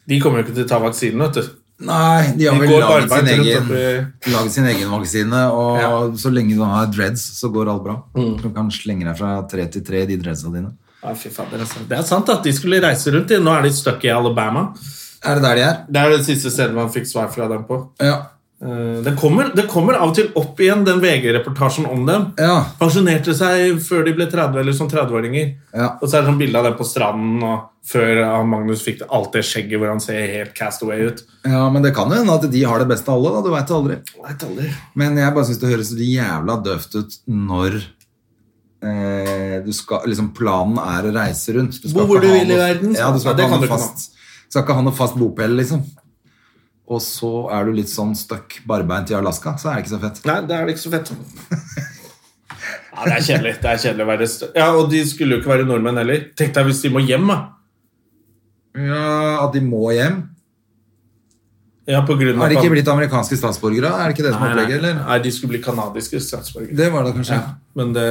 Speaker 1: De kommer jo ikke til å ta vaksinen, vet du.
Speaker 2: Nei, de har
Speaker 1: De
Speaker 2: vel
Speaker 1: går
Speaker 2: laget sin,
Speaker 1: barbeint rundt
Speaker 2: egen,
Speaker 1: oppi-
Speaker 2: laget sin egen vaksine, og
Speaker 1: Ja. Mm.
Speaker 2: så lenge du har dreads, så går alt bra. Du kan slenge deg fra tre til tre i de dreadsa dine.
Speaker 1: Ja, fy fader, altså. Det er sant at de skulle reise rundt. i. Nå er de stuck i Alabama.
Speaker 2: Er det der de er?
Speaker 1: Det er det siste stedet man fikk svar fra dem på.
Speaker 2: Ja.
Speaker 1: Eh, Det kommer, det kommer av og til opp igjen, den VG-reportasjen om dem.
Speaker 2: Ja.
Speaker 1: Pensjonerte seg før de ble 30, eller som 30-åringer.
Speaker 2: Ja.
Speaker 1: Og så er det sånn bilde av dem på stranden og før han Magnus fikk det, alt det skjegget hvor han ser helt castaway ut.
Speaker 2: ja, men det kan jo hende at de har det beste av alle, da. Du veit aldri. Men jeg bare syns det høres så jævla døvt ut når eh, du skal, liksom planen er å reise rundt. Du skal
Speaker 1: Bo hvor
Speaker 2: ikke
Speaker 1: du
Speaker 2: ha
Speaker 1: vil i
Speaker 2: noe-
Speaker 1: verden,
Speaker 2: Ja, du skal
Speaker 1: ja, det
Speaker 2: ikke ha
Speaker 1: kan
Speaker 2: noe
Speaker 1: du ikke
Speaker 2: fast, skal ikke ha noe fast bopel, liksom. Og så er du litt sånn stuck barbeint i Alaska, så er det ikke så fett.
Speaker 1: Nei, det er ikke så fett. Ja, det er kjedelig. det er kjedelig å være stø- Ja, Og de skulle jo ikke være nordmenn heller. Tenk deg hvis de må hjem, da.
Speaker 2: Ja, At de må hjem.
Speaker 1: Ja, på grunn av
Speaker 2: Har de ikke blitt amerikanske statsborgere? Er det ikke det som
Speaker 1: Nei,
Speaker 2: er
Speaker 1: nei.
Speaker 2: opplegget, eller?
Speaker 1: Nei, de skulle bli kanadiske statsborgere.
Speaker 2: Det var det kanskje.
Speaker 1: Ja, men det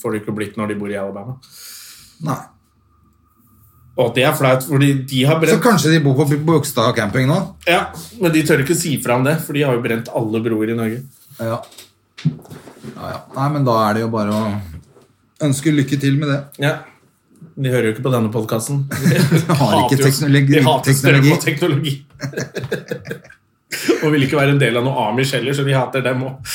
Speaker 1: får de ikke blitt når de bor i Alabama.
Speaker 2: Nei.
Speaker 1: Og det er flaut, fordi de har
Speaker 2: Så
Speaker 1: brent
Speaker 2: kanskje de bor på Bogstad camping nå?
Speaker 1: Ja, Men de tør ikke si fra om det, for de har jo brent alle broer i Norge.
Speaker 2: Ja. ja, ja. Nei, men da er det jo bare å ønske lykke til med det.
Speaker 1: Ja. De hører jo ikke på denne podkasten. De
Speaker 2: har
Speaker 1: hater
Speaker 2: ikke
Speaker 1: jo-
Speaker 2: teknologi-
Speaker 1: De hater jo strøm
Speaker 2: teknologi.
Speaker 1: og teknologi. og vil ikke være en del av noe Amish heller, så de hater dem òg.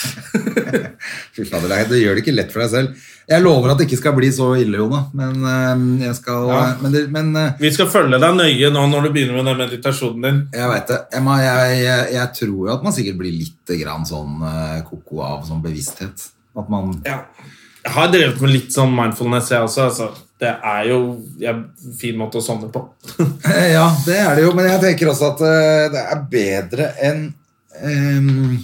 Speaker 2: Fy fader, nei, det gjør det ikke lett for deg selv. Jeg lover at det ikke skal bli så ille, Jone. Men, øhm, jeg skal,
Speaker 1: Ja.
Speaker 2: men, det, men øh,
Speaker 1: Vi skal følge deg nøye nå når du begynner med den meditasjonen din.
Speaker 2: jeg veit det. Jeg, må- jeg, jeg, jeg tror jo at man sikkert blir litt grann eh, sånn øh, ko-ko av sånn bevissthet. At man
Speaker 1: Ja. Jeg har drevet med litt sånn mindfulness, jeg også. Altså. Det er jo en fin måte å sovne på.
Speaker 2: Eh, Ja, det er det jo, men jeg tenker også at eh, det er bedre enn ehm,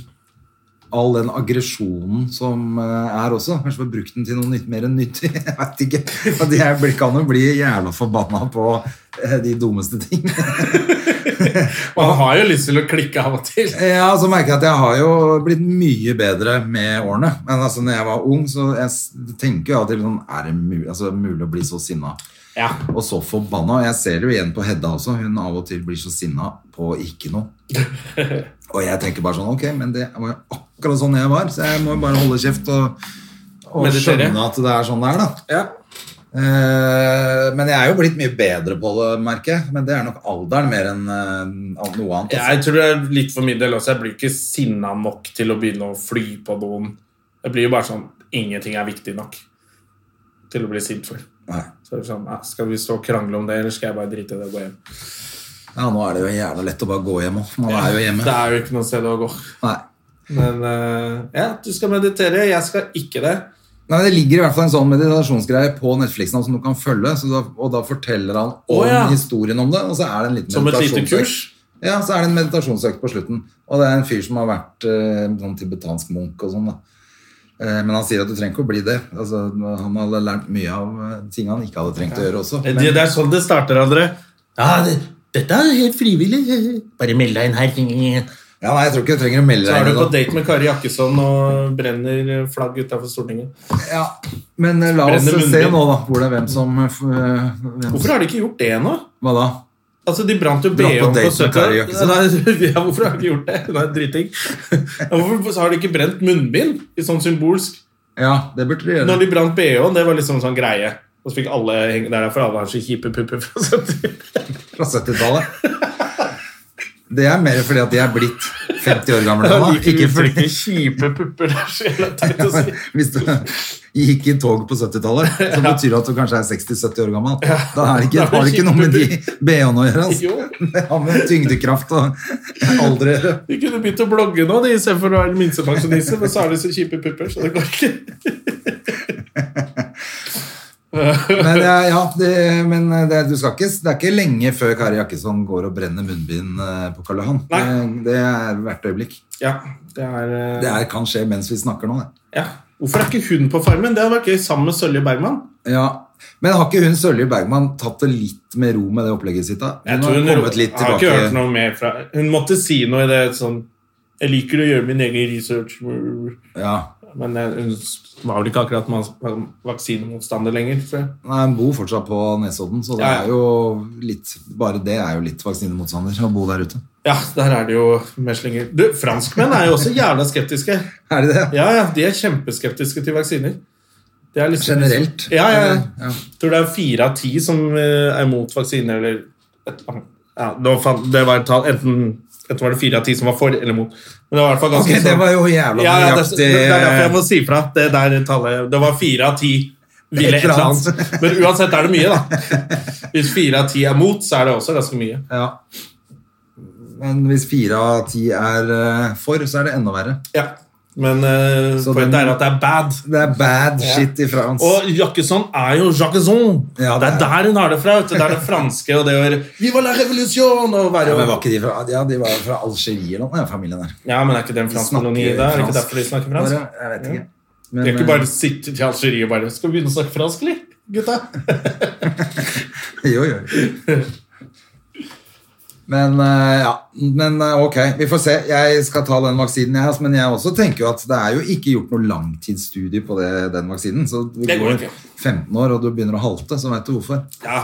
Speaker 2: all den aggresjonen som eh, er også. Kanskje få brukt den til noe nytt, mer enn nyttig. Jeg vet ikke. Fordi jeg blir- kan jo bli jævla forbanna på eh, de dummeste ting.
Speaker 1: Man har jo lyst til å klikke av og til.
Speaker 2: Ja, så merker jeg at jeg har jo blitt mye bedre med årene. Men altså, når jeg var ung, så jeg s- tenker jo alltid sånn, er det mulig, altså, mulig å bli så sinna?
Speaker 1: Ja.
Speaker 2: Og så forbanna. Jeg ser det jo igjen på Hedda også. Hun av og til blir så sinna på ikke noe. Og jeg tenker bare sånn, ok, men det var jo akkurat sånn jeg var, så jeg må jo bare holde kjeft og, og
Speaker 1: Meditere.
Speaker 2: skjønne at det er sånn det er, da.
Speaker 1: Ja.
Speaker 2: Eh, men jeg er jo blitt mye bedre på det, merker jeg. Men det er nok alderen mer enn eh, alt- noe annet. altså.
Speaker 1: Jeg tror det er litt for min del også. Jeg blir ikke sinna nok til å begynne å fly på noen. Jeg blir jo bare sånn Ingenting er viktig nok til å bli sint for.
Speaker 2: Nei.
Speaker 1: Så er det sånn, ja, Skal vi stå og krangle om det, eller skal jeg bare drite i det og gå hjem?
Speaker 2: Ja, nå er det jo jævla lett å bare gå hjem òg. Man er jo hjemme.
Speaker 1: Det er jo ikke noe sted å gå.
Speaker 2: Nei.
Speaker 1: Men eh, ja, du skal meditere. Jeg skal ikke det.
Speaker 2: Nei, Det ligger i hvert fall en sånn meditasjonsgreie på Netflix nå som du kan følge. Så da, og da forteller han om
Speaker 1: Å, ja.
Speaker 2: historien om det, og så er det en liten
Speaker 1: Som et lite
Speaker 2: meditasjonsøkt.
Speaker 1: kurs?
Speaker 2: Ja, så er det en meditasjonsøkt på slutten. Og det er en fyr som har vært eh, sånn tibetansk munk og sånn. da. Eh, men han sier at du trenger ikke å bli det. Altså, han hadde lært mye av eh, ting han ikke hadde trengt å gjøre også.
Speaker 1: Det, det er sånn det starter, André. dette er helt frivillig. Bare meld deg inn her.
Speaker 2: Ja, nei, Jeg tror ikke du trenger å melde
Speaker 1: Så
Speaker 2: deg
Speaker 1: er du
Speaker 2: inn.
Speaker 1: på
Speaker 2: i det.
Speaker 1: date med Kari Jakkesson og brenner flagg utafor Stortinget.
Speaker 2: Ja. Men eh, la oss
Speaker 1: Brenner munnen
Speaker 2: se
Speaker 1: din.
Speaker 2: nå, da, hvor det er hvem som eh, f- eh, hvem,
Speaker 1: Hvorfor har de ikke gjort det ennå?
Speaker 2: Hva da?
Speaker 1: Altså, De brant jo
Speaker 2: Dra på
Speaker 1: BH-en på,
Speaker 2: date med
Speaker 1: 70
Speaker 2: Kari Jakkesson.
Speaker 1: Nei, ja, Hvorfor har de ikke gjort det? Hun er en driting. Ja, Hvorfor har de ikke brent munnbind i sånn symbolsk?
Speaker 2: Ja, det burde du gjøre.
Speaker 1: Når de brant BH-en, det var liksom en sånn greie. Og så fikk alle henge Det er derfor alle har så kjipe pupper. fra 70.
Speaker 2: fra 70-tallet. Det er mer fordi at de er blitt 50 år gamle. nå, Da.
Speaker 1: Jeg liker
Speaker 2: Ikke fordi,
Speaker 1: uttrykket 'kjipe pupper'. Det er så jævla teit å si.
Speaker 2: hvis du gikk i tog på 70-tallet, så betyr det at du kanskje er 60-70 år gammel. Da er det ikke,
Speaker 1: Da er det
Speaker 2: har det ikke noe med de BH-ene å gjøre.
Speaker 1: Jo.
Speaker 2: Altså. Det har med tyngdekraft og alder å gjøre.
Speaker 1: De kunne begynt å blogge nå, de, istedenfor å være minstepensjonister. Men så har de så kjipe pupper, så det går ikke.
Speaker 2: Men, eh, ja, det, men eh, det, du skal ikke, det er ikke lenge før Kari Jakkesson går og brenner munnbind eh, på Karl Johan. Det,
Speaker 1: Nei.
Speaker 2: det er hvert øyeblikk.
Speaker 1: Ja, det er, eh,
Speaker 2: Det er, kan skje mens vi snakker nå. Det.
Speaker 1: ja. Hvorfor er ikke hun på Farmen? Det hadde vært gøy sammen med Sølje Bergman.
Speaker 2: Ja, Men har ikke hun Sølje Bergman tatt det litt med ro med det opplegget sitt? da?
Speaker 1: Jeg
Speaker 2: Hun
Speaker 1: tror
Speaker 2: har
Speaker 1: hun
Speaker 2: kommet litt
Speaker 1: har ikke hørt
Speaker 2: tilbake.
Speaker 1: noe mer fra Hun måtte si noe i det sånn Jeg liker å gjøre min egen research.
Speaker 2: Ja.
Speaker 1: Men eh, hun var vel ikke akkurat man- vaksinemotstander lenger. Så.
Speaker 2: Nei, Hun bor fortsatt på Nesodden, så det
Speaker 1: Ja, ja.
Speaker 2: er jo litt, bare det er jo litt vaksinemotstander å bo der ute.
Speaker 1: Ja, der er det jo meslinger. Du, franskmenn er jo også jævla skeptiske.
Speaker 2: Er det det?
Speaker 1: Ja, ja, De er kjempeskeptiske til vaksiner. Det er liksom-
Speaker 2: Generelt?
Speaker 1: Ja, ja, ja.
Speaker 2: Ja.
Speaker 1: Jeg tror det er fire av ti som eh, er mot vaksiner, eller et eller annet. ja, det var, fan- det var et tall, enten, enten var det fire av ti som var for eller mot. Men det var i hvert fall
Speaker 2: Ok,
Speaker 1: ganske
Speaker 2: det
Speaker 1: sånn-
Speaker 2: var jo jævla
Speaker 1: ja, ja, det,
Speaker 2: nøyaktig.
Speaker 1: det er derfor jeg må si fra. at Det, der tallet, det var fire av ti ville et eller annet. Men uansett er det mye, da. Hvis fire av ti er mot, så er det også ganske mye.
Speaker 2: Ja. Men hvis fire av ti er eh, for, så er det enda verre.
Speaker 1: Ja. Men eh,
Speaker 2: Så
Speaker 1: poenget
Speaker 2: den-
Speaker 1: er at det er bad.
Speaker 2: Det er bad shit i France.
Speaker 1: Og Jakkesson er jo Jacquesson.
Speaker 2: Ja,
Speaker 1: det er
Speaker 2: det er-
Speaker 1: der hun har det fra. vet du. Det er det franske og det å være Viva la revolution! Og være
Speaker 2: ja, men var ikke de fra, ja, de var jo fra Algerie eller noe, den familien der.
Speaker 1: Ja, men er ikke det en fransk koloni da?
Speaker 2: Snakker
Speaker 1: Er det ikke
Speaker 2: fransk.
Speaker 1: derfor de snakker fransk?
Speaker 2: Bare- Jeg vet ikke. Men,
Speaker 1: De er ikke
Speaker 2: eh,
Speaker 1: bare sitter til Algerie og bare Skal vi begynne å snakke fransk, eller? Gutta?
Speaker 2: Jo, jo. Men, eh, ja. men eh, ok, vi får se. Jeg skal ta den vaksinen, jeg. altså, Men jeg også tenker jo at det er jo ikke gjort noe langtidsstudie på det, den vaksinen. Så du
Speaker 1: Det går
Speaker 2: går
Speaker 1: ikke.
Speaker 2: 15 år, og du begynner å halte, så veit du hvorfor.
Speaker 1: Ja.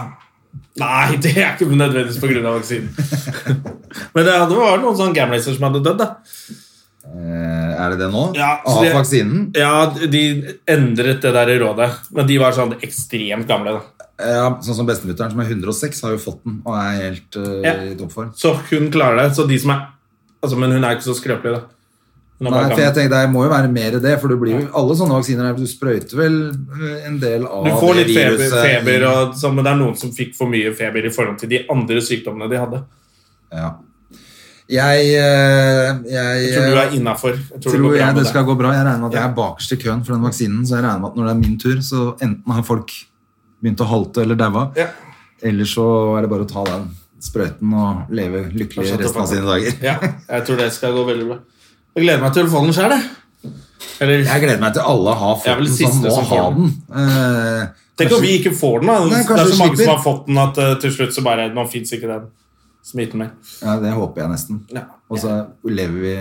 Speaker 1: Nei, det er ikke nødvendigvis pga. vaksinen. men det hadde- det var noen sånne gamliser som hadde dødd, da.
Speaker 2: Eh, er det det nå?
Speaker 1: Ja, så
Speaker 2: Av
Speaker 1: det-
Speaker 2: vaksinen?
Speaker 1: Ja, de endret det der i rådet, men de var sånn ekstremt gamle. da.
Speaker 2: Ja, sånn som bestemutteren, som er 106, har jo fått den og er helt eh,
Speaker 1: Ja.
Speaker 2: i toppform.
Speaker 1: Så hun klarer det. Så de som er altså, Men hun er ikke så skrøpelig, da. Hun er
Speaker 2: Nei,
Speaker 1: bare
Speaker 2: for jeg
Speaker 1: gammel.
Speaker 2: tenker Det må jo være mer det, for du blir jo, alle sånne vaksiner er- Du sprøyter vel eh, en del av
Speaker 1: Du får
Speaker 2: det
Speaker 1: litt feber,
Speaker 2: viruset i-
Speaker 1: feber og sånn, men det er noen som fikk for mye feber i forhold til de andre sykdommene de hadde.
Speaker 2: Ja. Jeg, eh, jeg,
Speaker 1: Jeg tror du er innafor. Jeg tror,
Speaker 2: tror
Speaker 1: det går bra
Speaker 2: jeg
Speaker 1: med
Speaker 2: det
Speaker 1: deg.
Speaker 2: skal gå bra. Jeg regner med at
Speaker 1: Ja.
Speaker 2: jeg er bakerst i køen for den vaksinen, så jeg regner med at når det er min tur, så enten har folk begynt å halte eller daua,
Speaker 1: Ja.
Speaker 2: eller så er det bare å ta den sprøyten og leve lykkelig
Speaker 1: Kanskje
Speaker 2: resten av sine dager.
Speaker 1: Ja, jeg tror det skal gå veldig bra. Jeg gleder meg til å få den sjøl, jeg. Eller
Speaker 2: Jeg gleder meg til alle har
Speaker 1: Jeg er
Speaker 2: fått
Speaker 1: vel
Speaker 2: den,
Speaker 1: siste
Speaker 2: som må
Speaker 1: som
Speaker 2: ha
Speaker 1: får
Speaker 2: den. Eh,
Speaker 1: Tenk om vi ikke får den, da.
Speaker 2: Nei,
Speaker 1: det
Speaker 2: kanskje
Speaker 1: er så
Speaker 2: vi
Speaker 1: mange som
Speaker 2: slipper.
Speaker 1: har fått den at eh, til slutt så bare Nå fins ikke den smitten mer.
Speaker 2: ja, Det håper jeg nesten.
Speaker 1: Ja.
Speaker 2: Og så lever vi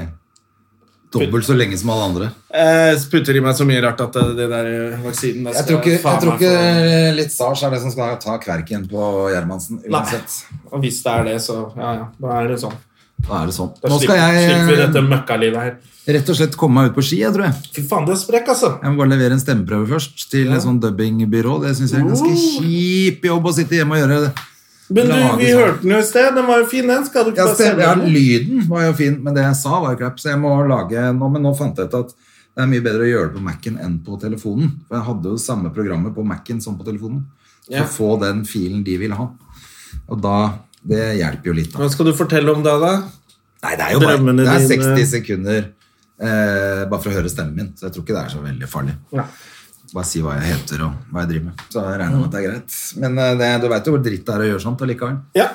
Speaker 2: dobbelt så lenge som alle andre.
Speaker 1: Jeg Eh, putter i meg så mye rart at eh, det der eh, vaksinen der
Speaker 2: Jeg tror ikke,
Speaker 1: faen altså.
Speaker 2: jeg tror
Speaker 1: meg få-
Speaker 2: ikke litt sars er det som skal ta kverken på Gjermansen. Uansett.
Speaker 1: Og hvis det er det, så ja, ja. Da er det sånn.
Speaker 2: Da er det sånn.
Speaker 1: Da
Speaker 2: Nå skal
Speaker 1: slipper, slipper vi
Speaker 2: jeg
Speaker 1: dette møkkalivet her.
Speaker 2: eh, rett og slett komme meg ut på ski, jeg tror jeg.
Speaker 1: Fy faen, du er sprekk, altså.
Speaker 2: Jeg må bare levere en stemmeprøve først til et sånn dubbingbyrå. Det syns jeg er en ganske kjip jobb å sitte hjemme og gjøre.
Speaker 1: Men du,
Speaker 2: Lage
Speaker 1: vi
Speaker 2: sånn.
Speaker 1: hørte den jo i sted. Den var jo fin, den. Skal du ikke
Speaker 2: Ja,
Speaker 1: bare
Speaker 2: stem,
Speaker 1: sende
Speaker 2: ja,
Speaker 1: den?
Speaker 2: lyden var jo fin, men det jeg sa, var jo crap. Så jeg må lage nå, Men nå fant jeg ut at det er mye bedre å gjøre det på Mac-en enn på telefonen. For jeg hadde jo samme programmet på Mac-en som på telefonen. For
Speaker 1: Ja.
Speaker 2: å få den filen de vil ha. Og da Det hjelper jo litt, da.
Speaker 1: Hva skal du fortelle om da, da?
Speaker 2: Nei, det er jo bare
Speaker 1: Drømmene
Speaker 2: Det er
Speaker 1: dine-
Speaker 2: 60 sekunder eh, bare for å høre stemmen min. Så jeg tror ikke det er så veldig farlig.
Speaker 1: Ja.
Speaker 2: Bare si hva jeg heter og hva jeg driver med. Så jeg regner med at det er greit. Men eh, det, du veit jo hvor dritt det er å gjøre sånt allikevel.
Speaker 1: ja.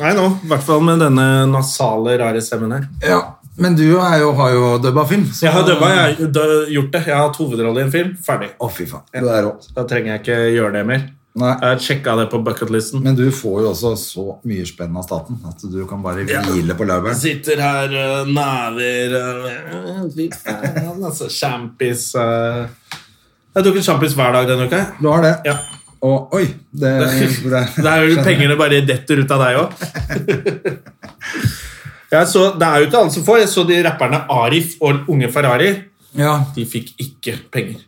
Speaker 1: Nei, nå. I hvert fall med denne nasale, rare stemmen her.
Speaker 2: Ja. Men du er jo, har jo dubba film. så-
Speaker 1: Jeg har dubba, jeg har dø- gjort det. Jeg har hatt hovedrolle i en film. Ferdig.
Speaker 2: Å, fy faen. Du er rå.
Speaker 1: Da trenger jeg ikke gjøre det mer.
Speaker 2: Nei.
Speaker 1: Jeg har sjekka det på bucketlisten.
Speaker 2: Men du får jo også så mye spenn av staten at du kan bare hvile på laurbæren.
Speaker 1: Sitter her eh, og naver øh, Fy faen, altså. Champis øh. Jeg har drukket champis hver dag denne uka. jeg.
Speaker 2: Du har det.
Speaker 1: Ja.
Speaker 2: Og oi det, det,
Speaker 1: Det er jo pengene bare detter ut av deg òg. Det er jo ikke alle som får. Jeg så de rapperne Arif og Unge Ferrari.
Speaker 2: Ja.
Speaker 1: De fikk ikke penger.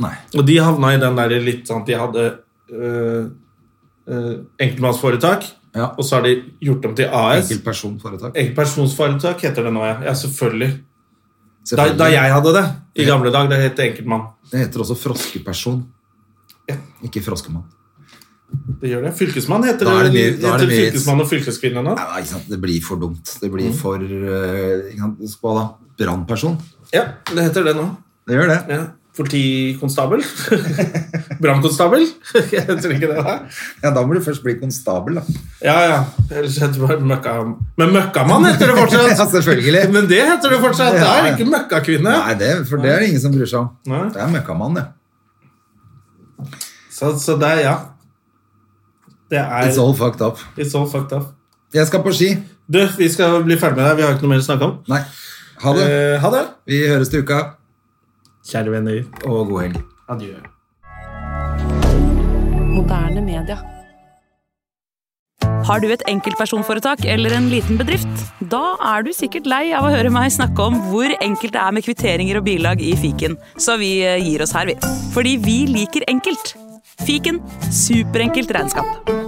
Speaker 2: Nei.
Speaker 1: Og de havna i den der litt sånn at de hadde øh, øh, enkeltmannsforetak,
Speaker 2: Ja.
Speaker 1: og så har de gjort dem til AS.
Speaker 2: Enkeltpersonforetak.
Speaker 1: Enkeltpersonsforetak heter det nå, ja. ja selvfølgelig. Da, da jeg hadde det i gamle dag, det het enkeltmann.
Speaker 2: Det heter også froskeperson. Ikke froskemann.
Speaker 1: Det gjør det. Fylkesmann heter,
Speaker 2: Da er det
Speaker 1: det,
Speaker 2: mye- da er det
Speaker 1: heter
Speaker 2: mye-
Speaker 1: fylkesmann og fylkeskvinne nå.
Speaker 2: Nei, nei, ikke sant? Det blir for dumt. Det
Speaker 1: Mhm.
Speaker 2: blir for eh, ikke sant? Hva da? Brannperson.
Speaker 1: Ja, det heter det nå.
Speaker 2: Det gjør det.
Speaker 1: Ja. Politikonstabel? Brannkonstabel? Jeg tror ikke det. da.
Speaker 2: Ja, Da må du først bli konstabel, da.
Speaker 1: Ja, ja. Ellers heter det bare møkka... Men møkkamann heter det
Speaker 2: ja,
Speaker 1: fortsatt!
Speaker 2: selvfølgelig.
Speaker 1: Men det heter det fortsatt! Det
Speaker 2: Ja,
Speaker 1: er
Speaker 2: ja.
Speaker 1: ikke møkkakvinne.
Speaker 2: Nei, det, for det er det ingen som bryr seg om.
Speaker 1: Nei.
Speaker 2: Det er møkkamann, det.
Speaker 1: Så, så det er ja. Det er
Speaker 2: It's all fucked up.
Speaker 1: it's all fucked up.
Speaker 2: Jeg skal på ski.
Speaker 1: Du, vi skal bli ferdig med deg. Vi har ikke noe mer å snakke om.
Speaker 2: Nei. Ha det.
Speaker 1: Eh, ha det.
Speaker 2: Vi høres til uka,
Speaker 1: Kjære venner.
Speaker 2: og god helg.
Speaker 1: Adjø.
Speaker 3: Moderne media. Har du et enkeltpersonforetak eller en liten bedrift? Da er du sikkert lei av å høre meg snakke om hvor enkelt det er med kvitteringer og bilag i fiken, så vi eh, gir oss her, vi. Fordi vi liker enkelt. Fiken superenkelt regnskap.